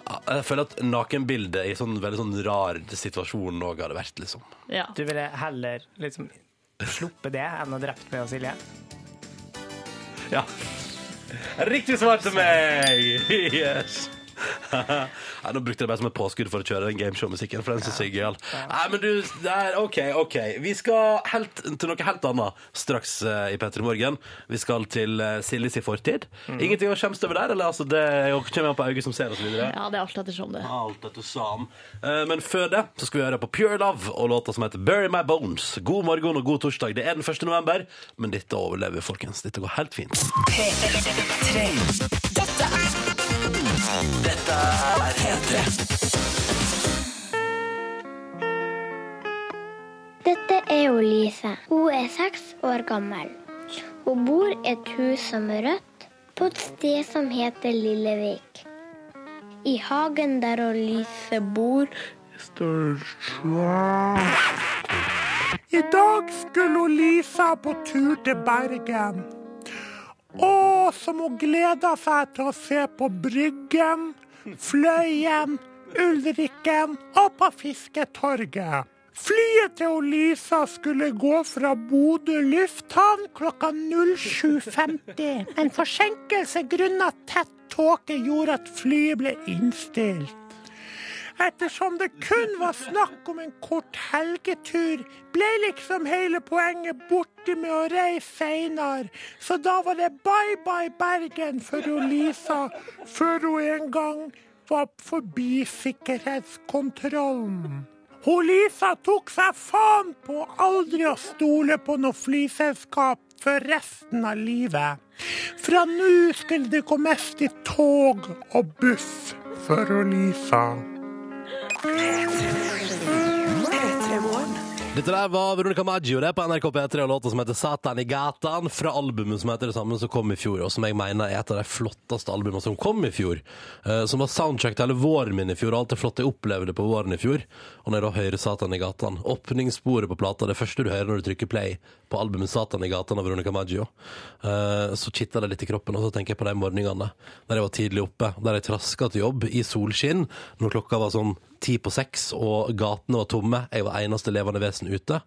Speaker 2: ja, jeg føler at nakenbildet i sånn veldig sånn rar situasjon òg hadde vært, liksom.
Speaker 4: Du ville heller liksom sluppe det enn å drept meg og Silje?
Speaker 2: Ja. Riktig svar til meg! Yes. Nei, nå brukte jeg det bare som et påskudd for å kjøre den gameshow-musikken. For den synes jeg er gøyal. Nei, men du, der, OK, OK. Vi skal helt, til noe helt annet straks eh, i P3 Morgen. Vi skal til uh, Siljes i fortid. Ingenting å skjemmes over der, eller altså, det kommer an på øyet som ser, og så videre.
Speaker 3: Ja, det er alt ettersom det.
Speaker 2: Alt etter sam. Eh, Men før det så skal vi høre på Pure Love og låta som heter Bury My Bones. God morgen og god torsdag. Det er den 1. november, men dette overlever vi, folkens. Dette går helt fint.
Speaker 1: Dette er Dette er P3.
Speaker 15: Dette er jo Lise. Hun er seks år gammel. Hun bor i et hus som er rødt, på et sted som heter Lillevik. I hagen der hun Lise bor, står det
Speaker 16: I dag skulle hun Lisa på tur til Bergen. Å, som hun gleda seg til å se på Bryggen, Fløyen, Ulrikken og på Fisketorget. Flyet til hun Lisa skulle gå fra Bodø lufthavn klokka 07.50. En forsinkelse grunnet tett tåke gjorde at flyet ble innstilt. Ettersom det kun var snakk om en kort helgetur, ble liksom hele poenget borte med å reise seinere. Så da var det bye bye Bergen for hun Lisa, før hun en gang var forbi sikkerhetskontrollen. Hun Lisa tok seg faen på aldri å stole på noe flyselskap for resten av livet. Fra nå skulle det gå mest i tog og buss for hun Lisa.
Speaker 2: Dette der var Veronica Maggio det på NRK P3 og låta som heter 'Satan i gatan', fra albumet som heter det samme som kom i fjor, og som jeg mener er et av de flotteste albumene som kom i fjor. eh, som var soundtrack til hele våren min i fjor, og alt det flotte jeg opplevde på våren i fjor. Og når jeg da hører 'Satan i gatan', åpningssporet på plata, det første du hører når du trykker play på albumet 'Satan i gatan' av Veronica Maggio, eh, så kitter det litt i kroppen, og så tenker jeg på de morgenene der jeg var tidlig oppe, der jeg traska til jobb i solskinn, når klokka var sånn ti på seks, og gatene var tomme. Jeg var eneste levende vesen ute.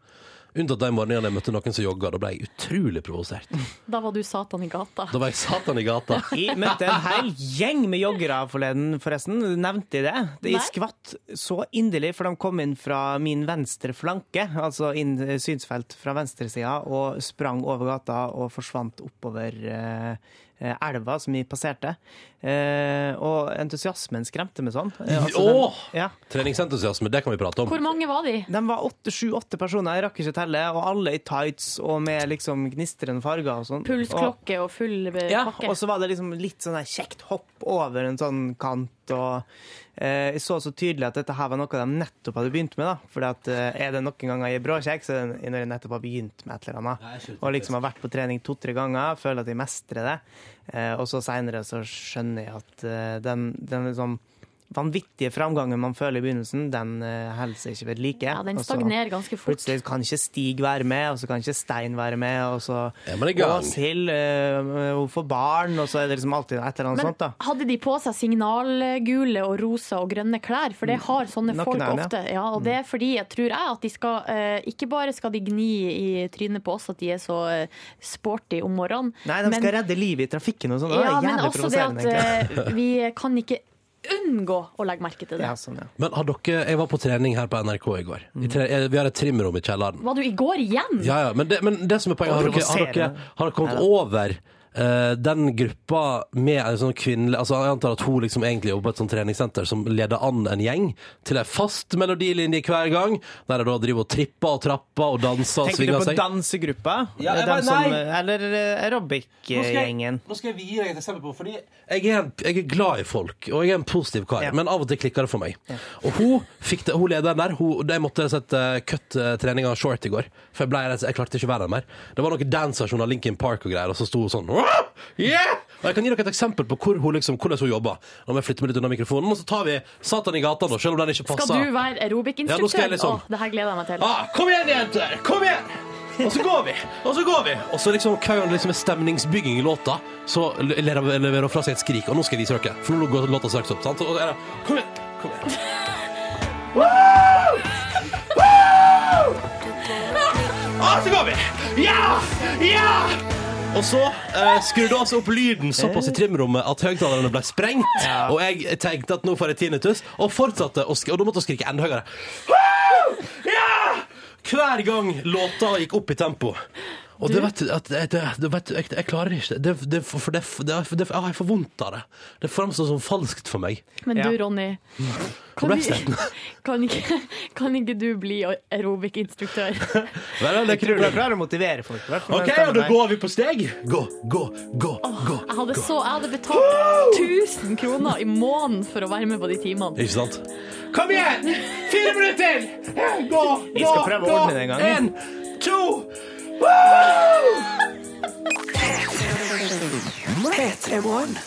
Speaker 2: Unntatt de morgenene jeg møtte noen som jogga. Da ble jeg utrolig provosert.
Speaker 3: Da var du Satan i gata.
Speaker 2: Da var jeg satan i gata.
Speaker 4: Jeg møtte en hel gjeng med joggere forleden, forresten. Nevnte jeg det? De skvatt så inderlig, for de kom inn fra min venstre flanke, altså inn eh, synsfelt fra venstresida, og sprang over gata og forsvant oppover eh, eh, elva som vi passerte. Eh, og entusiasmen skremte meg sånn. Eh, altså, den-
Speaker 2: Åh! Treningsentusiasme, det kan vi prate om.
Speaker 3: Hvor mange var de?
Speaker 4: De var åtte, sju, åtte personer, jeg rakk ikke telle, og alle i tights og med liksom gnistrende farger og sånn. Og-
Speaker 3: Pulsklokke og full eh,
Speaker 4: ja,
Speaker 3: pakke.
Speaker 4: og så var det liksom litt sånn her kjekt hopp over en sånn kant. og eh, Jeg så så tydelig at dette her var noe de nettopp hadde begynt med. da, fordi at eh, Er det noen ganger jeg er bråkjekk, så er det når jeg nettopp har begynt med et eller annet. Og liksom har vært på trening to-tre ganger, føler at jeg mestrer det. Eh, og så seinere så skjønner jeg at eh, den, den liksom vanvittige framgangen man føler i begynnelsen, den eh, holder seg ikke ved like.
Speaker 3: Ja, den
Speaker 4: Og så-
Speaker 3: stagnerer ganske fort.
Speaker 4: altså- Plutselig kan ikke Stig være med, og så kan ikke Stein være med, og så
Speaker 2: men i gang.
Speaker 4: Åshild eh, hun får barn, og så er det liksom alltid et eller annet
Speaker 3: Men
Speaker 4: sånt, da.
Speaker 3: hadde de på seg signalgule og rosa og grønne klær? For det
Speaker 4: Mm.
Speaker 3: har sånne
Speaker 4: Noen
Speaker 3: folk
Speaker 4: er det.
Speaker 3: ofte. Ja, og det
Speaker 4: Mm.
Speaker 3: er fordi jeg tror jeg at de skal eh, Ikke bare skal de gni i trynet på oss at de er så eh, sporty om morgenen.
Speaker 4: Nei, de skal redde livet i trafikken og sånn. Det er
Speaker 3: ja, men
Speaker 4: jævlig
Speaker 3: også det at
Speaker 4: provoserende, egentlig.
Speaker 3: eh, vi kan ikke unngå å legge merke til det.
Speaker 4: Ja, sånn, ja.
Speaker 2: Men har dere Jeg var på trening her på NRK i går. I tre, eh, vi har et trimrom i kjelleren.
Speaker 3: Var du i går igjen?
Speaker 4: Mm.
Speaker 2: Ja, ja, men det, men det som er poenget, har dere, har dere, har dere kommet
Speaker 3: Neida.
Speaker 2: over eh, den gruppa med en sånn kvinnelig altså Jeg antar at hun liksom egentlig jobber på et sånt treningssenter som leder an en gjeng til ei fast melodilinje hver gang, der de da driver og tripper og trapper og danser og
Speaker 4: Tenker du
Speaker 2: svinger
Speaker 4: på
Speaker 2: seg.
Speaker 4: dansegruppa?
Speaker 2: altså, Ja, jeg
Speaker 4: Eh,
Speaker 2: bare-
Speaker 4: dem som,
Speaker 2: nei.
Speaker 4: eller eh, aerobic-gjengen?
Speaker 2: Nå skal jeg gi deg et eksempel på Fordi jeg er, en, jeg er glad i folk, og jeg er en positiv kar, men av og til klikker det for meg. Og hun, fikk det, hun lederen der, hun, de måtte sette eh, cut-trening av short i går. For jeg, ble, rett- jeg klarte ikke å være der mer. Det var noen dansersjoner av Linkin Park og greier, og så sto hun sånn «Wah! yeah! Og jeg kan gi dere et eksempel på hvor hun liksom, hvordan hun jobber. Nå må jeg flytte meg litt unna mikrofonen, og så tar vi Satan i gata, da, selv om den ikke passer.
Speaker 3: Skal du være
Speaker 2: altså. Ja, nå skal
Speaker 3: aerobic-instruktør?
Speaker 2: jeg liksom-
Speaker 3: Åh, det her gleder jeg meg til.
Speaker 2: Ah, kom igjen, jenter! Kom igjen! Og så går vi! Og så går vi! Og så liksom hver gang det liksom er stemningsbygging i låta, så le- leverer leverer hun fra seg et skrik. Og nå skal jeg vise dere, for nå går låta straks opp. Sant? Og så er det, kom igjen! Kom igjen. Og så går vi! Ja! Ja! Og så eh, skrudde vi altså opp lyden såpass i trimrommet at høyttalerne ble sprengt. Og jeg tenkte at nå får jeg tinnitus, og fortsatte å skrike. Og da måtte jeg skrike enda høyere. Woo! Ja! Hver gang låta gikk opp i tempo. Og det vet du, at, det, det, det vet du jeg, jeg klarer ikke det. det for for det, det, det, jeg har for vondt av det. Det framstår som falskt for meg.
Speaker 3: Men du, Ronny.
Speaker 2: Hvor ble
Speaker 3: du-
Speaker 2: jeg stemt?
Speaker 3: kan, ikke, kan ikke du bli aerobic-instruktør?
Speaker 4: Jeg tror du klarer å motivere folk. i hvert fall.
Speaker 2: OK, og da går vi på steg. Gå, gå, gå, gå.
Speaker 3: Jeg hadde, så, jeg hadde betalt 1000 kroner i måneden for å være med på de timene.
Speaker 2: Ikke sant?
Speaker 1: Kom igjen! Fire minutter! Gå,
Speaker 2: Vi skal prøve å
Speaker 1: gå,
Speaker 2: ordne det en gang.
Speaker 1: En, to Woo!
Speaker 14: P3-morgen.